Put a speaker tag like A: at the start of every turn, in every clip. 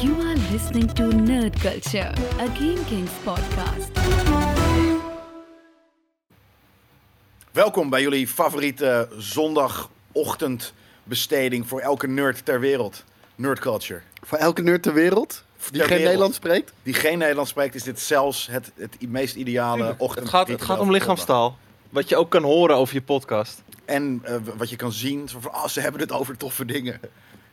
A: You are listening to Nerd Culture, a Game Kings podcast.
B: Welkom bij jullie favoriete zondagochtendbesteding voor elke nerd ter wereld. Nerd Culture.
C: Voor elke nerd ter wereld die geen
B: wereld.
C: Nederlands spreekt.
B: Die geen Nederlands spreekt, is dit zelfs het, het i- meest ideale ochtend.
D: Het gaat, het gaat om lichaamstaal. Wat je ook kan horen over je podcast.
B: En eh, w- wat je kan zien, zo van, ah, ze hebben het over toffe dingen.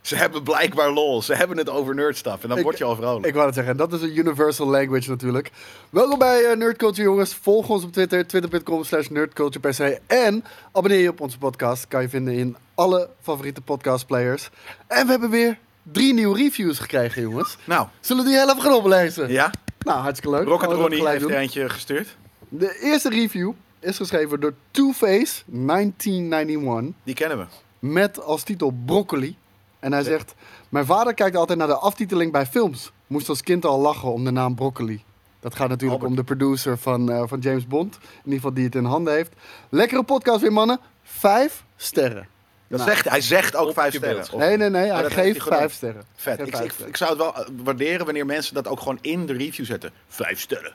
B: Ze hebben blijkbaar lol. Ze hebben het over nerdstuff. En dan
C: Ik-
B: word je al vrolijk.
C: Ik wou het zeggen, dat is een universal language natuurlijk. Welkom bij eh, Nerd Culture, jongens. Volg ons op Twitter, twitter.com slash nerdculture per se. En abonneer je op onze podcast. Kan je vinden in alle favoriete podcastplayers. En we hebben weer drie nieuwe reviews gekregen, jongens.
B: Nou,
C: Zullen we die heel even gaan oplezen?
B: ja.
C: Nou, hartstikke leuk.
B: Rocket
C: Gaan we dat
B: Ronnie
C: gelijk
B: heeft er
C: doen.
B: eentje gestuurd.
C: De eerste review is geschreven door Two Face 1991.
B: Die kennen we.
C: met als titel Broccoli. En hij zegt: Mijn vader kijkt altijd naar de aftiteling bij films. Moest als kind al lachen om de naam Broccoli. Dat gaat natuurlijk
B: Albert.
C: om de producer van, eh, van James Bond. In ieder geval die het in handen heeft. Lekkere podcast weer, mannen. Vijf sterren.
B: Dat
C: Nou.
B: zegt, hij zegt ook
D: Op
B: vijf
D: je
B: sterren.
D: beeld.
B: Of-
C: Nee, nee, nee.
B: Oh. Maar
C: Hij
B: dat heeft
C: geeft
B: hij gedaan.
C: vijf sterren.
B: Vet.
C: Geeft
B: Ik,
C: vijf
B: ik,
C: sterren.
B: ik zou het wel eh, waarderen wanneer mensen dat ook gewoon in de review zetten. Vijf sterren.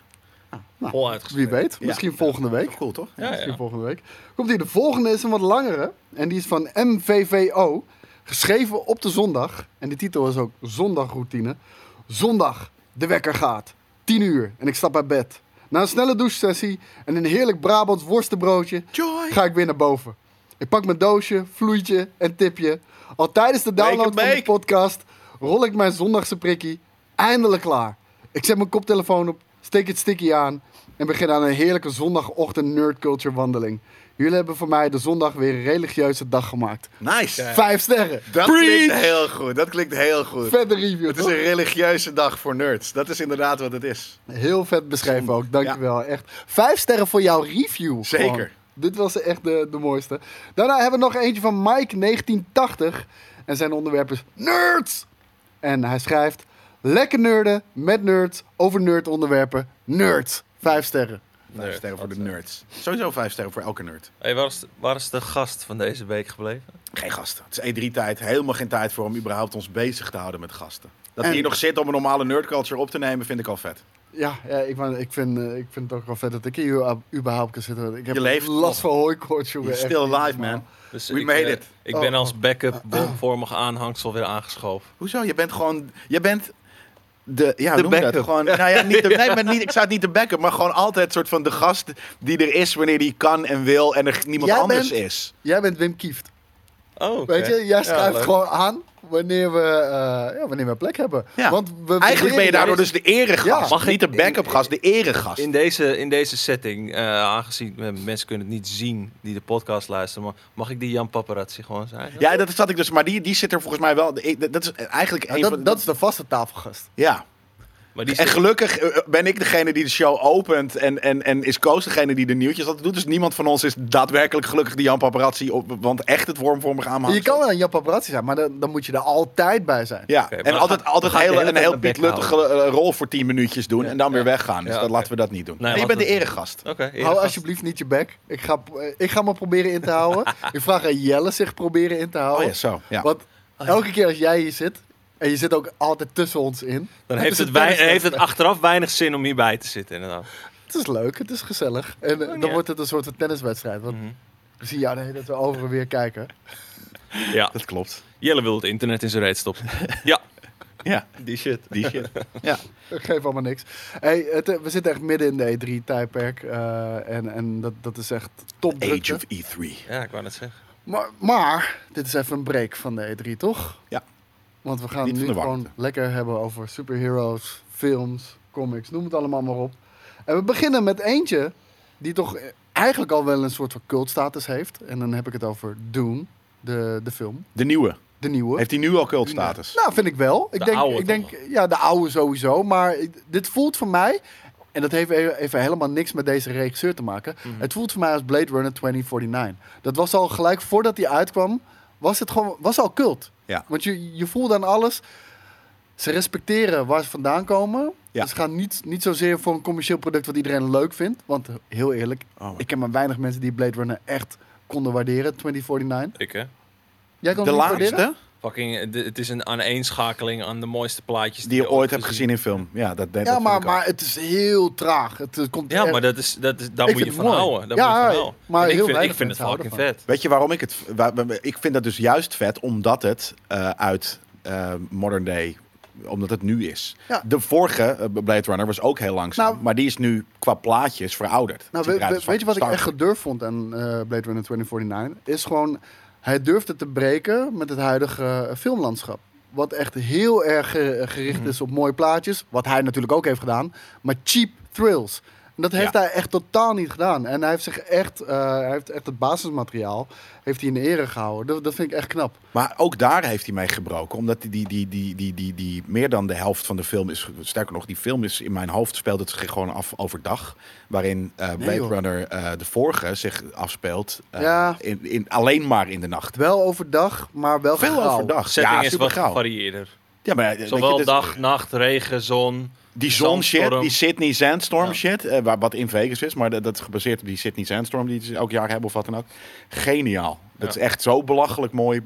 D: Vol
C: Wie weet,
B: Ja.
C: misschien volgende
B: Dat is
C: week.
B: toch cool, toch?
D: Ja,
C: Misschien
D: ja.
C: volgende week. Komt hier. De volgende is een wat langere. En die is van MVVO. Geschreven op de zondag. En de titel is ook Zondagroutine. Zondag. De wekker gaat. 10 uur. En ik stap uit bed. Na een snelle douchesessie en een heerlijk Brabants worstenbroodje
B: Joy!
C: ga ik weer naar boven. Ik pak mijn doosje, vloeitje en tipje. Al tijdens de
B: Make
C: download
B: it
C: van de
B: make.
C: podcast rol ik mijn zondagse prikkie eindelijk klaar. Ik zet mijn koptelefoon op, steek het sticky aan en begin aan een heerlijke zondagochtend nerdculture wandeling. Jullie hebben voor mij de zondag weer een religieuze dag gemaakt.
B: Nice!
C: Vijf sterren.
B: Dat klinkt
C: Preach!
B: heel goed. Dat klinkt heel goed.
C: Vette review.
B: Het is
C: toch?
B: een religieuze dag voor nerds. Dat is inderdaad wat het is.
C: Heel vet beschreven ook, dankjewel. Echt. Vijf sterren voor jouw review.
B: Zeker.
C: Gewoon. Dit was echt de, de mooiste. Daarna hebben we nog eentje van Mike1980. En zijn onderwerp is nerds. En hij schrijft, lekker nerden met nerds over nerdonderwerpen. Nerds. Vijf sterren.
B: Vijf sterren voor de nerds. Sowieso vijf sterren voor elke nerd.
D: Hey, waar, is, waar is de gast van deze week gebleven?
B: Geen gasten. Het is E3-tijd. Helemaal geen tijd voor om überhaupt ons bezig te houden met gasten. Dat we
C: En-
B: hier nog zitten om een normale nerdculture op te nemen, vind ik al vet.
C: Ja, ja ik, wou- ik, vind, eh, ik vind het ook wel vet dat ik hier überhaupt kan zitten. Ik heb
B: Je leeft
C: last van hooikoorts, jongen.
B: You're
C: Echt
B: still
C: niet
B: alive,
C: normaal.
B: man.
D: Dus
B: We
D: ik,
B: made
D: eh,
B: it.
D: Ik ben
C: Oh.
D: als backup bomvormig aanhangsel weer aangeschoven.
B: Hoezo? Je bent gewoon... Je bent... De, ja,
D: De
B: noem dat.
D: backup.
B: Gewoon, nou ja, niet de, nee, maar niet, ik zou het niet de backup, maar gewoon altijd soort van de gast die er is wanneer die kan en wil en er niemand
C: Jij
B: anders
C: bent-
B: is.
C: Jij bent Wim Kieft.
D: Oh, oké.
C: Weet je, jij
D: Ja,
C: schuift
D: leuk.
C: gewoon aan wanneer we, eh, ja, wanneer we plek hebben.
B: Ja.
C: Want we
B: Eigenlijk ben je daardoor dus de eregast.
C: Ja.
D: Mag
B: Niet de
D: ik-
B: backup gast, de eregast.
D: In deze, in deze setting, eh, aangezien eh, mensen kunnen het niet zien die de podcast luisteren, maar mag ik die Jan Paparazzi gewoon zijn?
B: Ja, dat zat ik dus. Maar die, die zit er volgens mij wel. de- e, Dat is eigenlijk
C: Ja,
B: een
C: dat,
B: van
C: dat is de vaste tafelgast.
B: Ja.
D: Maar die
B: En
D: zit-
B: gelukkig eh, ben ik degene die de show opent. En, en, en is Koos degene die de nieuwtjes altijd doet. Dus niemand van ons is daadwerkelijk gelukkig die Jan Paparazzi op. Want echt het wormvormig aanmaakt.
C: je kan wel een Jan Paparazzi zijn, maar dan, dan moet je er altijd bij zijn.
B: Ja,
D: Oké,
B: en
D: maar
B: altijd,
D: ga-
B: altijd
D: ga de
B: heel,
D: hele
B: een
D: tijd
B: heel
D: de bek
B: Piet Luttige eh, rol voor 10 minuutjes doen. En dan weer weggaan. Dus
D: Ja,
B: dat,
D: oké.
B: laten we dat niet doen.
D: Nee,
B: Nee, je
D: laten
B: bent de
D: we-
B: eregast.
D: Oké, eerder
C: Hou
D: gast.
C: alsjeblieft niet je bek. Ik ga, eh, ik ga me proberen in te houden. ik vraag aan Jelle zich proberen in te
B: Oh
C: houden.
B: ja, zo. Ja.
C: Want elke keer als jij hier zit, en je zit ook altijd tussen ons in. het
D: Dan heeft
C: is
D: het,
C: een
D: wei-
C: tenniswedstrijd.
D: heeft het achteraf weinig zin om hierbij te zitten, inderdaad.
C: Het is leuk, het is gezellig. En eh, dan
D: Oh, ja. Mhm.
C: wordt het een soort van tenniswedstrijd. Want we zien jou de hele tijd over en weer kijken.
D: Ja,
B: Dat klopt.
D: Jelle wil het internet in zijn reet stoppen. Ja,
B: Ja,
D: die shit.
B: die shit. Ja.
C: Geef allemaal niks. Hey, het, eh, we zitten echt midden in de E3-tijdperk. eh, en en dat, dat is echt top
B: Age of E E3.
D: Ja, ik wou net zeggen.
C: Maar, maar dit is even een break van de E3, toch?
B: Ja.
C: Want we gaan
B: Niet
C: nu
B: van de warmte.
C: gewoon lekker hebben over superheroes, films, comics, noem het allemaal maar op. En we beginnen met eentje die toch eigenlijk al wel een soort van cultstatus heeft. En dan heb ik het over Doom, de, de film,
B: De nieuwe.
C: de nieuwe.
B: Heeft hij nu al cultstatus?
C: Nou, vind ik wel. Ik
D: De
C: denk,
D: oude
C: ik
D: toch?
C: denk, ja, de oude sowieso. Maar ik- dit voelt voor mij, en dat heeft even, even helemaal niks met deze regisseur te maken.
D: Mhm.
C: Het voelt voor mij als Blade Runner 2049. Dat was al gelijk voordat hij uitkwam, was het gewoon, was al cult.
B: Ja.
C: Want je, je voelde aan alles. Ze respecteren waar ze vandaan komen.
B: Ja.
C: Ze gaan niet, niet zozeer voor een commercieel product wat iedereen leuk vindt. Want heel eerlijk,
B: Oh,
C: ik ken maar weinig mensen die Blade Runner echt konden waarderen, 2049.
D: Ik, hè?
C: Jij kon
B: de
C: het niet waarderen?
B: laatste?
D: Fucking, de- het is een aaneenschakeling aan de mooiste plaatjes
B: Die je ooit hebt gezien in film. Ja, dat, dat
C: Ja,
B: vind
C: maar,
B: ik ook.
C: maar het is heel traag. Het, eh, komt
D: Ja,
C: echt-
D: maar dat is, dat is, daar
C: Ik
D: moet je
C: vind
D: van
C: het mooi.
D: houden. Daar
C: Ja,
D: moet je van
C: ja,
D: houden.
C: maar
D: En ik
C: heel
D: vind, ik
C: weinig
D: vind het
C: mensen
D: fucking
C: houden
D: vet.
B: Weet je waarom ik het... waar- waar- ik vind dat dus juist vet, omdat het eh, uit eh, modern day omdat het nu is.
C: Ja.
B: De vorige eh, Blade Runner was ook heel langzaam.
C: Nou-
B: maar die is nu qua plaatjes verouderd.
C: Nou,
B: Het ziet
C: we-
B: eruit
C: we-
B: als
C: weet je wat ik
B: Star
C: echt gedurfd vond aan eh, Blade Runner 2049? Is gewoon, hij durfde te breken met het huidige eh, filmlandschap. Wat echt heel erg eh, gericht
B: Mhm.
C: is op mooie plaatjes. Wat hij natuurlijk ook heeft gedaan. Maar cheap thrills. En dat heeft
B: Ja.
C: hij echt totaal niet gedaan. En hij heeft zich echt, eh, hij heeft echt het basismateriaal heeft hij in ere gehouden. Dat, dat vind ik echt knap.
B: Maar ook daar heeft hij mee gebroken. Omdat die, die, die, die, die, die, die meer dan de helft van de film is. Sterker nog, die film is in mijn hoofd speelt het zich gewoon af overdag. Waarin eh, Blade
C: joh.
B: Runner eh, de vorige zich afspeelt. eh,
C: Ja.
B: in, in, alleen maar in de nacht.
C: Wel overdag, maar wel
B: Veel
C: grauw.
B: overdag.
D: Setting
B: ja,
D: is
B: super
D: wat
B: gauw.
D: gevarieerder.
B: Ja, maar, eh, weet je,
D: Zowel
B: dat-
D: dag, nacht, regen, zon.
B: Die zon shit,
D: Zandstorm.
B: die Sydney Sandstorm
D: Ja.
B: shit, eh, waar, wat in Vegas is, maar dat, dat is gebaseerd op die Sydney Sandstorm die ze elk jaar hebben of wat dan ook. Geniaal. Dat
D: Ja.
B: is echt zo belachelijk mooi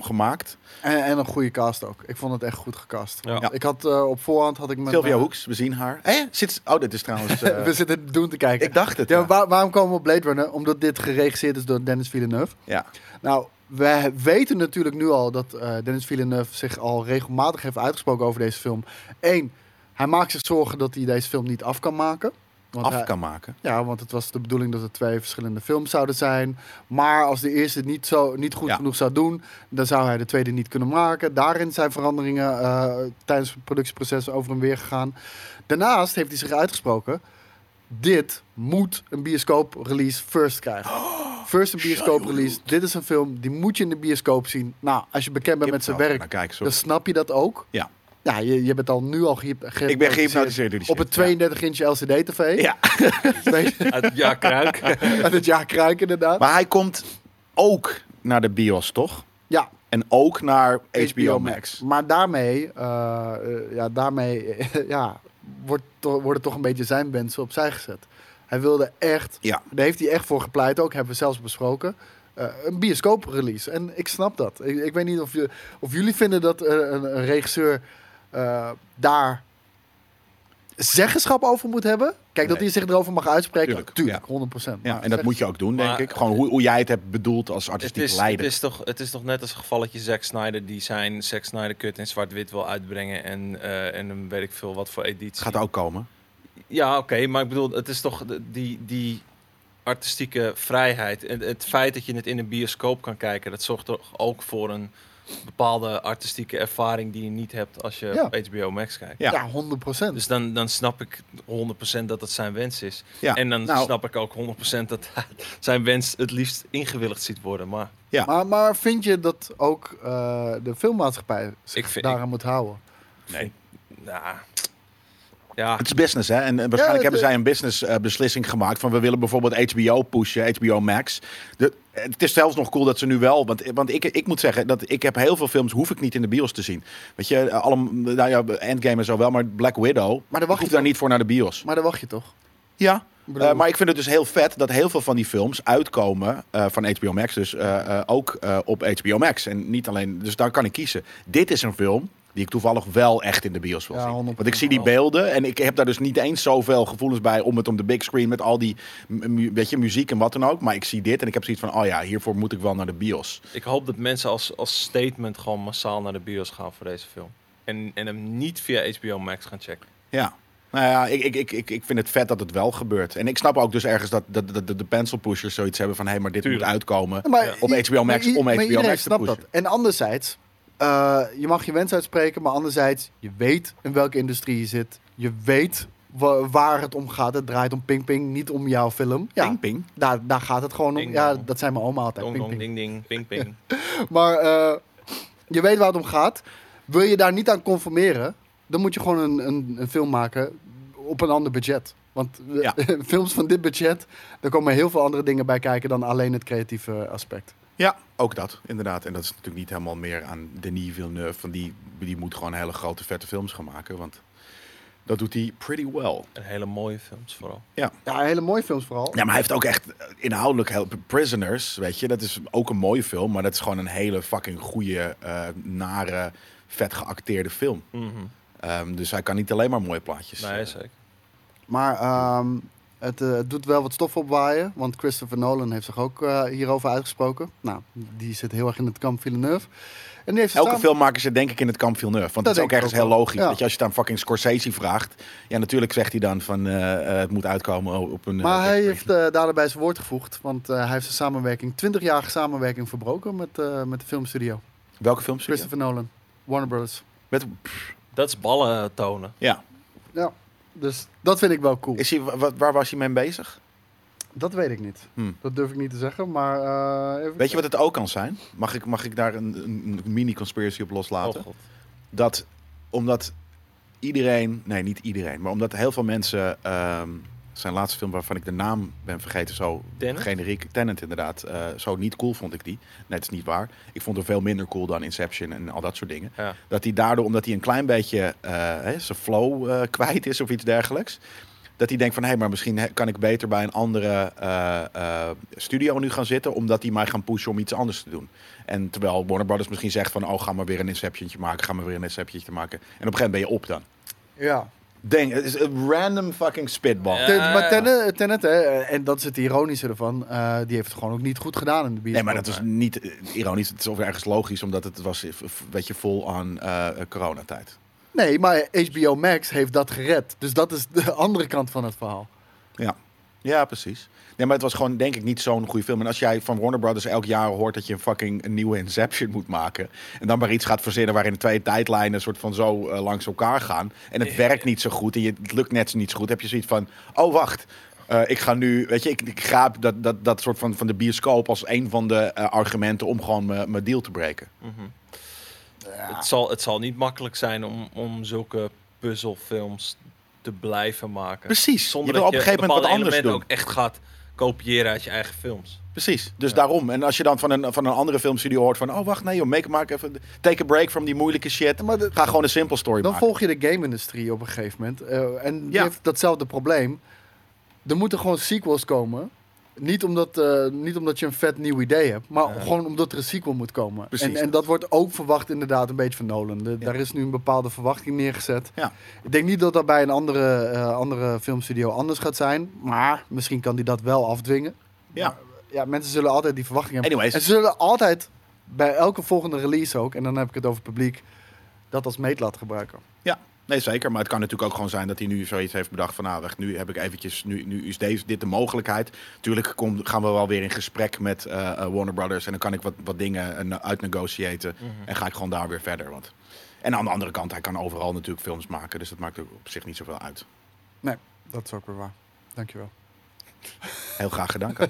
B: gemaakt.
C: En, en een goede cast ook. Ik vond het echt goed gecast.
D: Ja.
C: Want Ik had eh, op voorhand had ik met
B: Sylvia
C: mijn-
B: Hoeks, we zien haar. Eh, zit, ze- oh, dit is trouwens... eh,
C: We zitten doen te kijken.
B: ik dacht het.
C: Ja,
B: Ja,
C: maar waar- waarom komen we op Blade Runner? Omdat dit geregisseerd is door Dennis Villeneuve.
B: ja.
C: Nou, we weten natuurlijk nu al dat eh, Dennis Villeneuve zich al regelmatig heeft uitgesproken over deze film. Eén, hij maakt zich zorgen dat hij deze film niet af kan maken. Want
B: af
C: hij-
B: kan maken.
C: ja, want het was de bedoeling dat het twee verschillende films zouden zijn. Maar als de eerste het niet, zo, niet goed
B: Ja.
C: genoeg zou doen, dan zou hij de tweede niet kunnen maken. Daarin zijn veranderingen eh, tijdens het productieproces over en weer gegaan. Daarnaast heeft hij zich uitgesproken: dit moet een bioscoop-release first krijgen.
B: Oh,
C: First een bioscoop-release. Dit is een film die moet je in de bioscoop zien. Nou, als je bekend bent met zijn werk,
B: Nou, kijk, sorry.
C: dan snap je dat ook.
B: Ja.
C: Ja, je, je bent al nu al gehyp- gehypnotiseerd.
B: ik ben geïnnotiseerd door die
C: Op
B: shit.
C: een 32-inch LCD-tv.
B: Ja.
C: Weet je?
D: Uit, ja, kruik.
C: Uit het jaar kruik inderdaad.
B: Maar hij komt ook naar de bios, toch?
C: ja,
B: En ook naar HBO, Max.
C: Maar daarmee, eh, eh, ja, daarmee ja, wordt to- worden toch een beetje zijn wensen opzij gezet. Hij wilde echt,
B: Ja.
C: daar heeft hij echt voor gepleit ook, hebben we zelfs besproken. eh, een bioscoop-release. En ik snap dat. Ik, ik weet niet of, je, of jullie vinden dat eh, een, een regisseur eh, daar zeggenschap over moet hebben. Kijk, dat
B: Nee.
C: hij zich erover mag uitspreken.
B: Tuurlijk,
C: Tuurlijk,
B: ja.
C: 100%.
B: Ja,
C: maar
B: en dat moet je ook doen, denk
D: Maar-
B: ik. Gewoon hoe, hoe jij het hebt bedoeld als
D: Het
B: artistiek
D: is, het,
B: leider.
D: is toch, het is toch net als het gevalletje Zack Snyder die zijn Zack Snyder kut in zwart-wit wil uitbrengen en, eh, en een weet ik veel wat voor editie.
B: Gaat ook komen.
D: Ja, oké, maar ik bedoel, het is toch de- die, die artistieke vrijheid. En het feit dat je het in een bioscoop kan kijken, dat zorgt toch ook voor een bepaalde artistieke ervaring die je niet hebt als je
C: Ja.
D: op HBO Max kijkt.
B: Ja.
C: Ja, 100%.
D: Dus dan, dan snap ik 100% dat dat zijn wens is.
B: Ja.
D: En dan
B: Nou,
D: snap ik ook 100% dat zijn wens het liefst ingewilligd ziet worden. Maar
B: Ja.
C: Maar, maar vind je dat ook eh, de filmmaatschappij zich
D: Ik vind-
C: daaraan moet houden?
B: Nee.
D: nou, ja,
B: Het is business, hè? En, eh, waarschijnlijk
C: het-
B: hebben zij een business eh, beslissing gemaakt van we willen bijvoorbeeld HBO pushen, HBO Max. De, het is zelfs nog cool dat ze nu wel, want, want ik, ik moet zeggen dat ik heb heel veel films hoef ik niet in de bios te zien. Weet je, eh, allem, nou ja, Endgame en zo wel, maar Black Widow.
C: Maar dan
B: ik
C: wacht
B: hoef
C: je
B: daar
C: toch?
B: niet voor naar de bios.
C: Maar daar wacht je toch?
B: Ja.
C: Ik bedoel-
B: Eh, maar ik vind het dus heel vet dat heel veel van die films uitkomen eh, van HBO Max, dus eh, eh, ook eh, op HBO Max. En niet alleen, dus daar kan ik kiezen. Dit is een film die ik toevallig wel echt in de bios wil
C: Ja,
B: zien.
C: 100%.
B: Want ik zie die beelden en ik heb daar dus niet eens zoveel gevoelens bij om het op de big screen met al die mu- mu- weet je, muziek en wat dan ook. Maar ik zie dit en ik heb zoiets van, oh ja, hiervoor moet ik wel naar de bios.
D: Ik hoop dat mensen als, als statement gewoon massaal naar de bios gaan voor deze film. En, en hem niet via HBO Max gaan checken.
B: Ja. Nou ja, ik, ik, ik, ik, ik vind het vet dat het wel gebeurt. En ik snap ook dus ergens dat, dat, dat- dat de pencil pushers zoiets hebben van... hé, maar dit
D: Tuurlijk.
B: moet uitkomen.
C: Maar
D: Ja.
B: Op
C: i-
B: HBO Max,
C: i-
B: om
C: maar
B: HBO
C: iedereen
B: Max te
C: snapt
B: pushen.
C: dat. En anderzijds, eh, je mag je wens uitspreken, maar anderzijds, je weet in welke industrie je zit. Je weet wa- waar het om gaat. Het draait om Ping Ping, niet om jouw film. Ja,
B: Ping, ping.
C: Daar, daar gaat het gewoon om.
D: Ding
C: ja,
D: dong.
C: dat zijn mijn oma altijd.
D: Dong
C: Ping
D: dong
C: Ping.
D: ding ding, ping ping.
C: Maar eh, je weet waar het om gaat. Wil je daar niet aan conformeren, dan moet je gewoon een, een, een film maken op een ander budget. Want eh,
B: Ja.
C: films van dit budget, daar komen heel veel andere dingen bij kijken dan alleen het creatieve aspect.
B: Ja, ook dat, inderdaad. En dat is natuurlijk niet helemaal meer aan Denis Villeneuve. Van die, die moet gewoon hele grote, vette films gaan maken. Want Dat doet hij pretty well.
D: En hele mooie films vooral.
C: Ja, hele mooie films vooral.
B: Ja, maar hij heeft ook echt eh, inhoudelijk heel... Prisoners, weet je, dat is ook een mooie film. Maar dat is gewoon een hele fucking goede, eh, nare, vet geacteerde film. Ehm, dus hij kan niet alleen maar mooie plaatjes.
D: Nee,
B: eh,
D: Mhm. Nou zeker.
C: Maar ehm, het, eh, doet wel wat stof opwaaien. Want Christopher Nolan heeft zich ook eh, hierover uitgesproken. Nou, die zit heel erg in het kamp Villeneuve. En die heeft
B: Elke
C: staan-
B: filmmaker zit denk ik in het kamp Villeneuve. Want
C: Dat
B: dat is ook
C: denk ik
B: ergens
C: ook
B: heel
C: wel.
B: logisch.
C: Ja.
B: Dat je als je het aan fucking Scorsese vraagt... Ja, natuurlijk zegt hij dan van... eh, eh, het moet uitkomen op een... eh,
C: Maar hij
B: Big
C: heeft eh daarbij zijn woord gevoegd. Want eh, hij heeft zijn samenwerking, 20-jarige samenwerking verbroken met, eh, met de filmstudio.
B: Break. Welke films? zie je?
C: Christopher Nolan, Warner Brothers.
B: Met,
D: Dat is ballen eh, tonen.
B: ja.
C: Ja, dus dat vind ik wel cool.
B: Is hij, wa- waar was hij mee bezig?
C: Dat weet ik niet.
B: Hmm.
C: Dat durf ik niet te zeggen, maar... eh, even-
B: Weet je wat het ook kan zijn? Mag ik, mag ik daar een, een mini-conspiracy op
D: Oh
B: loslaten?
D: god.
B: dat omdat iedereen... Nee, niet iedereen. Maar omdat heel veel mensen... ehm, zijn laatste film waarvan ik de naam ben vergeten, zo
D: Tenet?
B: generiek. Tenant inderdaad. eh, zo niet cool vond ik die. Nee, het is niet waar. Ik vond hem veel minder cool dan Inception en al dat soort dingen.
D: Ja.
B: Dat hij daardoor, omdat hij een klein beetje eh, hè, zijn flow eh, kwijt is of iets dergelijks. Dat hij denkt van, hé, maar misschien hè, kan ik beter bij een andere eh, eh, studio nu gaan zitten. Omdat die mij gaan pushen om iets anders te doen. En terwijl Warner Brothers misschien zegt van, oh, ga maar weer een Inceptiontje maken. Ga maar weer een Inceptiontje maken. En op een gegeven moment ben je op dan.
C: Ja.
B: Denk, het is een random fucking spitball.
D: Ja.
C: Ten- maar Tenet, eh, Tenet, hè, en dat is het ironische ervan, eh, die heeft het gewoon ook niet goed gedaan in de bioscoop.
B: Nee, maar dat is niet eh, ironisch. Het is ook ergens logisch, omdat het was, eh, f- weet je, vol aan eh, coronatijd.
C: Nee, maar HBO Max heeft dat gered. Dus dat is de andere kant van het verhaal.
B: Ja. ja, precies. Nee, maar het was gewoon, denk ik, niet zo'n goede film. En als jij van Warner Brothers elk jaar hoort dat je een fucking een nieuwe Inception moet maken. en dan maar iets gaat verzinnen waarin de twee tijdlijnen een soort van zo eh, langs elkaar gaan. en het werkt niet zo goed en je, het lukt net zo niet zo goed. heb je zoiets van: oh wacht. eh, ik ga nu, weet je, ik, ik graap dat, dat, dat soort van, van de bioscoop als een van de eh, argumenten om gewoon mijn mijn deal te breken.
D: Het, zal, het zal niet makkelijk zijn om, om zulke puzzelfilms te blijven maken.
B: Precies.
D: Zonder
B: je wil
D: dat
B: op een gegeven moment wat
D: bepaalde
B: anders doen.
D: elementen ook echt gaat kopiëren uit je eigen films.
B: Precies, dus daarom. En als je dan van een, van een andere filmstudio hoort van... oh, wacht, nee joh, make, maak even... take a break from die moeilijke shit.
C: Maar de-
B: Ga gewoon een simpel story
C: Dan
B: maken.
C: volg je de game-industrie op een gegeven moment. eh, en die
B: Ja.
C: heeft datzelfde probleem. Er moeten gewoon sequels komen. Niet omdat, eh, niet omdat je een vet nieuw idee hebt, maar gewoon omdat er een sequel moet komen.
B: Precies.
C: En, en dat wordt ook verwacht inderdaad een beetje van Nolan. De- Daar is nu een bepaalde verwachting neergezet.
B: Ja.
C: Ik denk niet dat dat bij een andere, eh, andere filmstudio anders gaat zijn. Maar misschien kan die dat wel afdwingen.
B: Ja.
C: Ja, mensen zullen altijd die verwachting hebben.
B: Anyways.
C: En ze zullen altijd bij elke volgende release ook, en dan heb ik het over publiek, dat als meetlat gebruiken.
B: ja, nee zeker. Maar het kan natuurlijk ook gewoon zijn dat hij nu zoiets heeft bedacht van... nou, wacht, nu heb ik eventjes... nu, nu is deze, dit de mogelijkheid. Tuurlijk kom, gaan we wel weer in gesprek met eh, eh, Warner Brothers... en dan kan ik wat, wat dingen eh, uitnegotiëten.
C: Mhm.
B: En ga ik gewoon daar weer verder. Want... En aan de andere kant, hij kan overal natuurlijk films maken... dus dat maakt ook op zich niet zoveel uit.
C: Nee, dat is ook weer waar. Dankjewel.
B: Heel graag gedaan, Cas.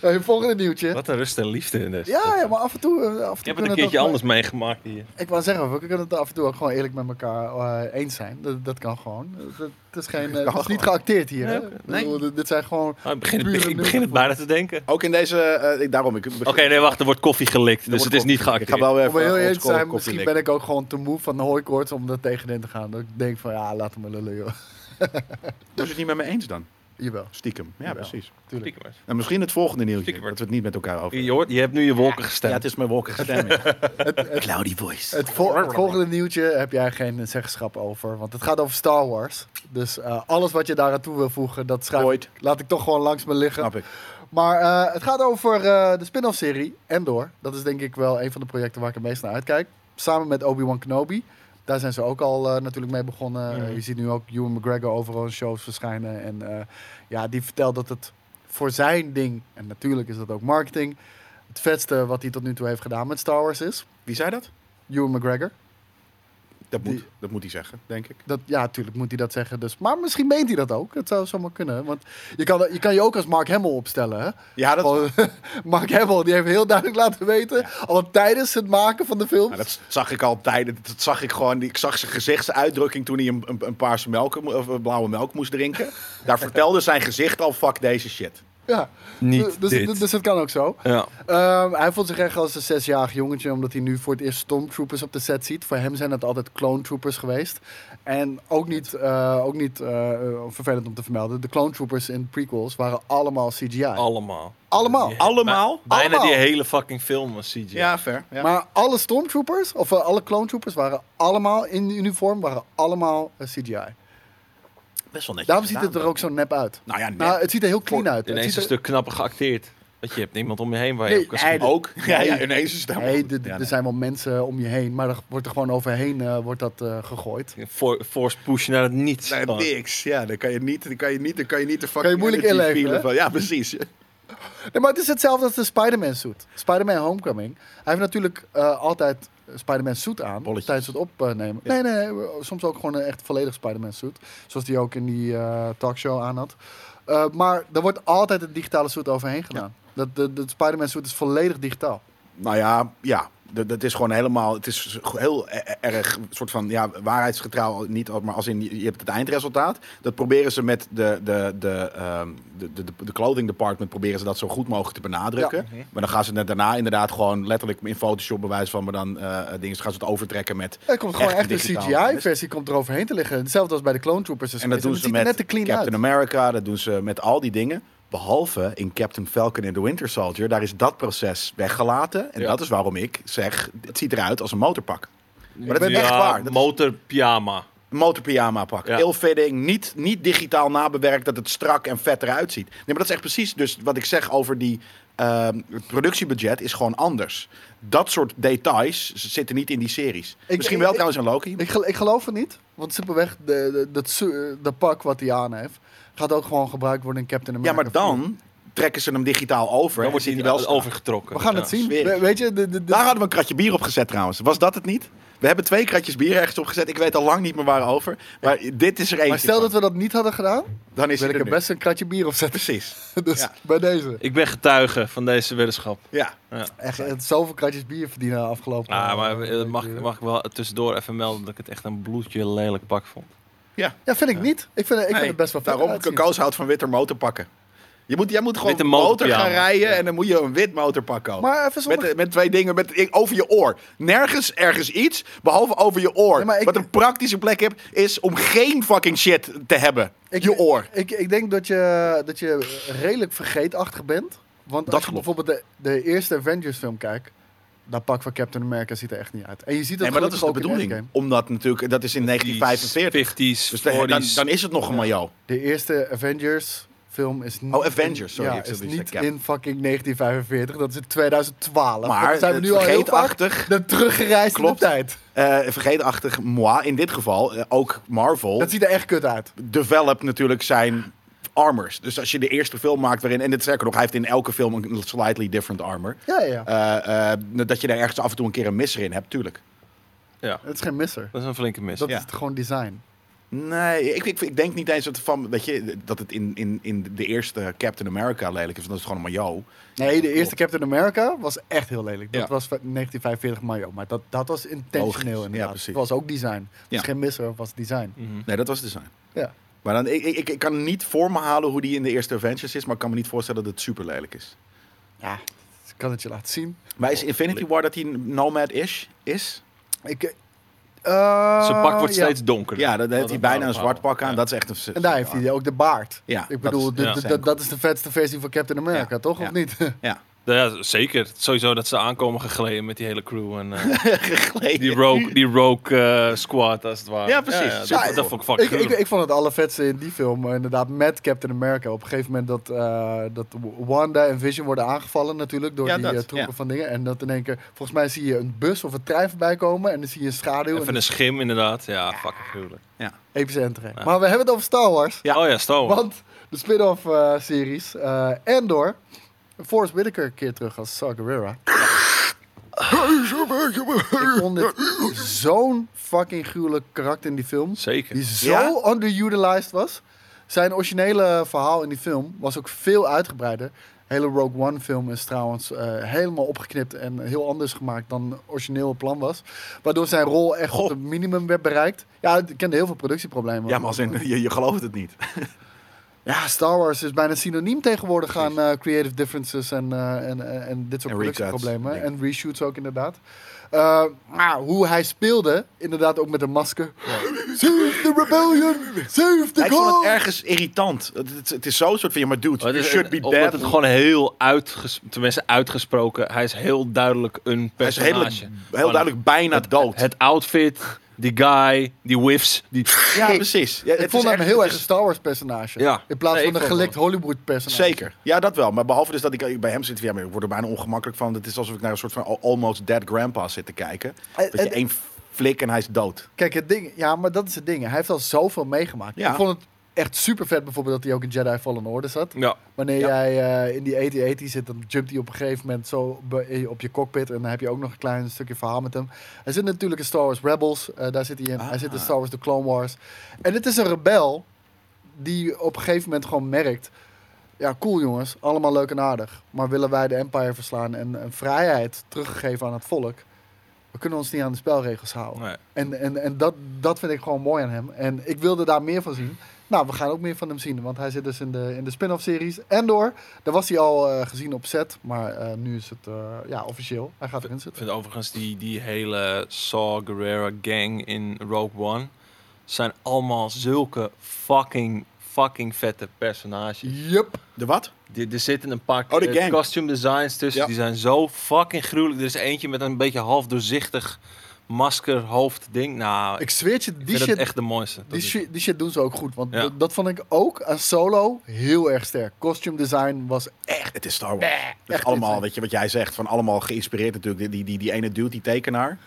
C: Hey, volgende nieuwtje.
D: Wat een rust en liefde in deze.
C: Ja, ja, maar af en toe... eh, Af en
D: Ik
C: toe
D: heb het een
C: kunnen we
D: keertje
C: ook-
D: anders meegemaakt hier.
C: Ik wou zeggen, we kunnen het af en toe ook gewoon eerlijk met elkaar eh, eens zijn. Dat, dat kan gewoon. Dat, dat- het is, geen, eh, het is niet geacteerd hier. hè?
D: Nee, oké.
C: Ik bedoel, dit- dit zijn gewoon...
D: Ah, ik begin,
C: Pure
D: ik begin het
C: nulgevoel.
D: bijna te denken.
B: Ook in deze... eh, ik- daarom, ik...
D: Oké, nee, wacht, er wordt koffie gelikt. Dus het is niet
B: Ik ga
D: geactiveerd.
B: wel weer
C: Om heel
B: even
C: eerlijk te
B: oldschool
C: zijn,
B: koffie
C: misschien
B: drinken.
C: ben ik ook gewoon te moe van de hooikoorts om er tegenin te gaan. Dat ik denk van, ja, laat hem maar lullen, joh.
B: Dus het niet met me eens dan?
C: Jawel,
B: Stiekem. Ja,
C: Ja.
B: precies.
C: tuurlijk.
B: En misschien het volgende nieuwtje.
D: Stiekem.
B: Dat we het niet met elkaar over
D: Je, hoort, je hebt nu je wolken
B: Ja,
D: gestemd.
B: het is mijn wolkige stem. ja. Cloudy voice.
C: Het, vol- het volgende nieuwtje heb jij geen zeggenschap over, want het gaat over Star Wars. Dus eh, alles wat je daaraan toe wil voegen, dat schrijf,
B: Ooit.
C: laat ik toch gewoon langs me liggen.
B: Snap ik.
C: Maar eh, het gaat over eh, de spin-off serie Endor. Dat is denk ik wel een van de projecten waar ik het meest naar uitkijk. Samen met Obi-Wan Kenobi. Daar zijn ze ook al eh, natuurlijk mee begonnen. Eh, je ziet nu ook Ewan McGregor overal in shows verschijnen. En eh, ja, die vertelt dat het voor zijn ding, en natuurlijk is dat ook marketing, het vetste wat hij tot nu toe heeft gedaan met Star Wars is.
B: Wie zei dat?
C: Ewan McGregor.
B: Dat
C: Die-
B: moet, dat moet hij zeggen, denk ik.
C: Dat, ja, natuurlijk moet hij dat zeggen. Dus. Maar misschien meent hij dat ook. Dat zou zomaar kunnen. Want je kan je, kan je ook als Mark Hamill opstellen. Hè?
B: Ja, dat,
C: Gewoon, Mark Hamill die heeft heel duidelijk laten weten... al tijdens het maken van de film...
B: nou, dat zag ik al tijden. Dat zag ik gewoon. Ik zag zijn gezichtsuitdrukking toen hij een, eh, een, een paarse melk, mo- of een blauwe melk moest drinken. Daar vertelde zijn gezicht al: fuck deze shit.
C: Ja.
D: Niet
C: dus,
D: dit.
C: dus, dus dat kan ook zo.
D: Ja.
C: Ehm, hij voelt zich echt als een zesjarig jongetje, omdat hij nu voor het eerst stormtroopers op de set ziet. Voor hem zijn het altijd clone troopers geweest. En ook niet, eh, ook niet eh, vervelend om te vermelden, de clone troopers in prequels waren allemaal CGI.
D: Allemaal.
C: allemaal.
D: Die-
B: Allemaal?
D: Bij- Bijna
C: Allemaal.
D: die hele fucking film was CGI.
B: Ja, fair. Ja.
C: Maar alle stormtroopers, of eh, alle clone troopers, waren allemaal in uniform, waren allemaal eh, CGI.
B: best wel netjes.
C: Daarom ziet het
B: gedaan,
C: er ook zo nep uit.
B: Nou ja, net.
C: Nou, het ziet er heel clean uit. Het
D: Ineens
C: ziet
D: een
C: er-
D: stuk knapper geacteerd. Want je hebt niemand om je heen waar je
C: Nee,
D: op kan
C: hij-
D: schieten.
B: ook. Ja, ja, ineens is het helemaal
C: Nee,
B: goed.
C: d- d-
B: Ja,
C: er
B: nee.
C: zijn wel mensen om je heen, maar er wordt er gewoon overheen eh, wordt dat, eh, gegooid.
D: For- force push naar het niets.
B: Nee,
D: Gewoon.
B: niks. Ja, dan kan je niet, dan kan je niet, dan kan je niet de fucking
C: je moeilijk
B: energy
C: inleveren,
B: feelen
C: hè?
B: van- Ja, precies.
C: Nee, maar het is hetzelfde als de Spider-Man suit. Spider-Man Homecoming. Hij heeft natuurlijk eh, altijd Spider-Man suit aan
B: Bolletjes.
C: tijdens het opnemen. Nee, nee, nee, soms ook gewoon een echt volledig Spider-Man suit. Zoals die ook in die eh, talkshow aan had. Eh, maar er wordt altijd een digitale suit overheen gedaan. Dat, de, de Spider-Man suit is volledig digitaal.
B: Nou ja, ja. Dat, dat is gewoon helemaal. Het is heel e- erg soort van ja, waarheidsgetrouw. Niet, al- maar als in je hebt het eindresultaat. Dat proberen ze met de, de, de, ehm, de, de, de- de clothing department. Proberen ze dat zo goed mogelijk te benadrukken.
C: Mhm.
B: Maar dan gaan ze net daarna inderdaad gewoon letterlijk in Photoshop bewijs van. Maar dan eh dingen gaan ze het overtrekken met.
C: Er komt gewoon
B: Echt
C: echt, een
B: digitaal.
C: CGI-versie komt er overheen te liggen. Hetzelfde als bij de Clone Troopers.
B: En dat doen
C: Dus het
B: ze
C: ziet er
B: met
C: net te clean
B: Captain
C: uit.
B: America, dat doen ze met al die dingen. Behalve in Captain Falcon en The Winter Soldier, daar is dat proces weggelaten. En
D: Ja.
B: dat is waarom ik zeg, het ziet eruit als een motorpak. Maar dat is
D: ja,
B: echt waar. Dat is
D: motorpyjama.
B: een motorpyjama pak.
D: Ja.
B: Heel fitting, niet, niet digitaal nabewerkt, dat het strak en vet eruit ziet. Nee, maar dat is echt precies dus wat ik zeg over die... ehm, het productiebudget is gewoon anders. Dat soort details zitten niet in die series.
C: Ik-
B: Misschien
C: ik-
B: wel
C: ik-
B: trouwens in Loki.
C: Ik, gel- ik geloof het niet, want simpelweg de, de, dat su- de pak wat hij aan heeft, gaat ook gewoon gebruikt worden in Captain
B: ja,
C: America.
B: maar dan trekken ze hem digitaal over.
D: Dan
B: en
D: wordt
B: zit
D: hij
B: wel
D: wel
B: strak.
D: overgetrokken.
C: We gaan
D: Ja.
C: het zien.
B: sfeer.
C: We- weet je, de, de, de-
B: Daar hadden we een kratje bier op gezet trouwens. Was dat het niet? We hebben twee kratjes bier ergens op gezet. Ik weet al lang niet meer waarover. Maar dit is er eentje.
C: maar stel dat
B: van.
C: we dat niet hadden gedaan,
B: Dan is
C: wil
B: het
C: ik
B: er
C: er
B: nu.
C: best een kratje bier op zetten.
B: Precies.
C: Dus
B: Ja.
C: bij deze.
D: Ik ben getuige van deze weddenschap.
B: Ja.
C: Echt, eh, zoveel kratjes bier verdienen afgelopen.
D: Ah, maar
C: eh,
D: eh, mag, mag ik wel tussendoor even melden dat ik het echt een bloedje lelijk pak vond.
C: Ja, vind ik niet. Ik vind, ik vind het best wel vet
B: Daarom,
C: uitzien.
B: Coco's houdt van witte motorpakken. Je moet, jij moet gewoon
D: Witte
B: motor gaan
D: motorpyjama.
B: rijden en dan moet je een wit motorpak kopen.
C: Maar even zonder...
B: met, met twee dingen met, over je oor. Nergens ergens iets, behalve over je oor.
C: Nee, maar ik-
B: Wat een praktische plek heb, is om geen fucking shit te hebben.
C: ik,
B: je oor.
C: Ik, ik denk dat je, dat je redelijk vergeetachtig bent. Want
B: Dat
C: als je
B: klopt.
C: bijvoorbeeld de, de eerste Avengers film kijkt, dat pak van Captain America ziet er echt niet uit. En je ziet
B: Nee,
C: dat
B: maar dat is de
C: gelukkig ook in
B: bedoeling.
C: Endgame.
B: Omdat natuurlijk, dat is in 1945.
D: 50s,
B: Dus dan, dan,
D: 40s.
B: dan is het nog een maillot.
C: De eerste Avengers film is niet...
B: Oh, Avengers, sorry,
C: Ja,
B: ik zat
C: is
B: te zeggen,
C: niet
B: Captain.
C: in fucking 1945. Dat is in 2012.
B: Maar
C: Dan zijn we
B: het
C: nu al heel vaak
B: vergeetachtig-
C: de teruggereisde
B: Klopt.
C: tijd.
B: Eh, vergeetachtig, moi, in dit geval eh, ook Marvel,
C: Dat ziet er echt kut uit.
B: develop natuurlijk zijn armors. Dus als je de eerste film maakt waarin, en het sterker nog, hij heeft in elke film een slightly different armor.
C: Ja, ja, ja.
B: Eh, eh, dat je daar ergens af en toe een keer een misser in hebt, tuurlijk.
D: Ja,
C: Het is geen misser.
D: dat is een flinke mis.
C: Dat
B: dus Ja.
C: is het gewoon design.
B: Nee, ik, ik, ik denk niet eens dat, het van, weet je, dat het in, in, in de eerste Captain America lelijk is, want dat is gewoon een maillot.
C: Nee, de
B: Klopt.
C: eerste Captain America was echt heel lelijk. Dat
B: Ja.
C: was van 1945 Mayo. Maar dat, dat was
B: Logisch.
C: intentioneel
B: Ja,
C: inderdaad.
B: precies.
C: Het was ook design. Het
B: Ja.
C: is geen misser, het was design.
D: Mhm.
B: Nee, dat was het design.
C: Ja.
B: Maar dan, ik, ik, ik kan niet voor me halen hoe die in de eerste Avengers is, maar ik kan me niet voorstellen dat het super lelijk is.
C: ja, ik kan het je laten zien.
B: Maar is Infinity War dat hij nomad-ish is?
C: Ik, eh,
D: Zijn pak wordt
C: ja.
D: steeds donkerder.
B: Oh, Ja,
C: Oh,
B: dan heeft
D: Wat
B: hij
D: een
B: bijna een
D: bepaalde
B: zwart pak aan.
D: Ja.
B: Dat is echt een...
C: En daar heeft hij ook de baard.
B: Ja,
C: ik
B: dat
C: bedoel,
B: is-
C: dit-
D: ja.
C: dit- dat, dat is de vetste versie van Captain America,
B: Ja.
C: toch? Of
B: Ja.
C: niet?
B: Ja.
D: Ja, zeker. Sowieso dat ze aankomen gegleden met die hele crew. En, eh,
B: Gegleden.
D: die rogue, die rogue eh, squad, als het ware.
B: Ja, precies.
D: dat,
B: Ja,
D: dat vond ik
C: ik,
D: fucking
C: ik,
D: gruwelijk.
C: ik vond het allervetste in die film, eh, inderdaad, met Captain America. Op een gegeven moment dat, eh, dat Wanda en Vision worden aangevallen natuurlijk door
B: Ja,
C: die
B: dat,
C: eh, troepen
B: ja.
C: van dingen. En dat in één keer, volgens mij zie je een bus of een trein voorbij komen en dan zie je een schaduw en
D: Even een schim, inderdaad. Ja, fucking gruwelijk.
C: een epische entree. Maar we hebben het over Star Wars,
D: Ja. Oh ja, Star Wars.
C: want de spin-off eh, series eh Endor, Forrest Whitaker keert terug als Saw Gerrera. Ik vond dit zo'n fucking gruwelijk karakter in die film.
D: Zeker.
C: Die zo
B: Ja?
C: underutilized was. Zijn originele verhaal in die film was ook veel uitgebreider. hele Rogue One film is trouwens eh, helemaal opgeknipt en heel anders gemaakt dan origineel het plan was. Waardoor zijn rol echt op
B: Goh.
C: het minimum werd bereikt. Ja, ik kende heel veel productieproblemen.
B: Ja, maar als in, je, je gelooft het niet.
C: Ja, Star Wars is bijna synoniem tegenwoordig aan eh, creative differences en, eh, en, en, en dit soort
B: En recuts,
C: productieproblemen.
B: ja.
C: En reshoots ook inderdaad. Eh, maar hoe hij speelde, inderdaad ook met een masker. Save the rebellion! Save the
B: Ik vond het
C: cause!
B: ergens irritant. Het, het, het is zo'n soort van, ja, maar dude,
D: Maar Oh, het
B: you
D: is-
B: should be
D: Omdat
B: dead.
D: het gewoon heel uitges tenminste uitgesproken. Hij is heel duidelijk een
B: Hij is
D: personage.
B: heel, heel duidelijk bijna
D: het,
B: dood.
D: Het outfit, die guy, die whiffs, die.
B: ja, precies. Ja,
C: ik
B: het
C: vond
B: is
C: hem
B: echt-
C: heel
B: het
C: erg
B: is-
C: een Star Wars personage.
D: Ja.
C: In plaats
D: Nee,
C: van
D: ik
C: een
D: vond
C: gelikt Hollywood personage.
B: Zeker. Ja, dat wel. Maar behalve dus dat ik bij hem zit, ja, maar ik word er bijna ongemakkelijk van. Het is alsof ik naar een soort van al- almost dead grandpa zit te kijken.
C: Eh,
B: Dat je
C: eh,
B: één flik en hij is dood.
C: Kijk, het ding, ja, maar dat is het ding. Hij heeft al zoveel meegemaakt.
B: Ja.
C: Ik vond het echt super vet bijvoorbeeld dat hij ook in Jedi Fallen Order zat.
D: Ja.
C: Wanneer
B: Ja.
C: jij eh, in die 8080 zit, dan jumpt hij op een gegeven moment zo be- eh, op je cockpit. En dan heb je ook nog een klein stukje verhaal met hem. Hij zit natuurlijk in Star Wars Rebels. eh, daar zit hij in. Hij zit in Star Wars The Clone Wars. En het is een rebel die op een gegeven moment gewoon merkt... Ja, cool jongens. Allemaal leuk en aardig. Maar willen wij de Empire verslaan en, en vrijheid teruggeven aan het volk... We kunnen ons niet aan de spelregels houden.
D: Nee.
C: En, en, en dat, dat vind ik gewoon mooi aan hem. En ik wilde daar meer van zien. Nou, we gaan ook meer van hem zien. Want hij zit dus in de, in de spin-off series. En door. Daar was hij al eh, gezien op set. Maar eh, nu is het eh, ja, officieel. Hij gaat erin
D: Ik
C: zitten.
D: vind overigens die, die hele Saw Gerrera gang in Rogue One zijn allemaal zulke fucking, fucking vette personages.
C: Yup.
B: De wat?
D: Die- Er zitten een paar
B: Oh, de
D: eh,
B: gang.
D: costume designs tussen,
B: Ja.
D: die zijn zo fucking gruwelijk. Er is eentje met een beetje half doorzichtig masker, hoofd, ding. Nou,
C: Ik zweer het je,
D: die
C: die
D: vind het
C: shit,
D: echt de mooiste. Dat
C: die,
D: is-
C: shit, die shit doen ze ook goed. Want
D: Ja.
C: dat- dat vond ik ook aan Solo heel erg sterk. Costume design was
B: Echt, het is Star Wars. Het is
C: echt
B: allemaal,
C: insane.
B: weet je, wat jij zegt, van allemaal geïnspireerd natuurlijk. Die, die, die, die ene dude, die tekenaar.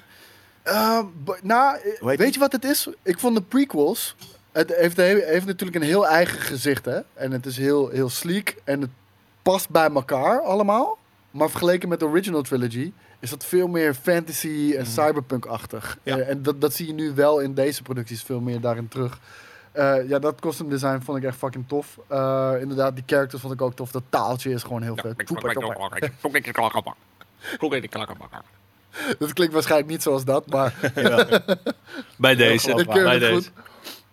C: Ehm, b- nou, eh,
B: Hoe heet
C: weet je wat het is? Ik vond de prequels. Het heeft, heeft natuurlijk een heel eigen gezicht, hè? En het is heel, heel sleek en het past bij elkaar allemaal. Maar vergeleken met de original trilogy is dat veel meer fantasy en cyberpunk-achtig.
B: Mhm. Ja.
C: Eh, en dat, dat zie je nu wel in deze producties veel meer daarin terug. Eh, ja, dat costume design vond ik echt fucking tof. Eh, inderdaad, die characters vond ik ook tof. Dat taaltje is gewoon heel vet. Toepak, toepak. Dat klinkt waarschijnlijk niet zoals dat, maar
B: Jawel.
D: Bij
B: Heel
D: deze.
C: ik keur
D: Bij
C: het
D: deze.
C: goed.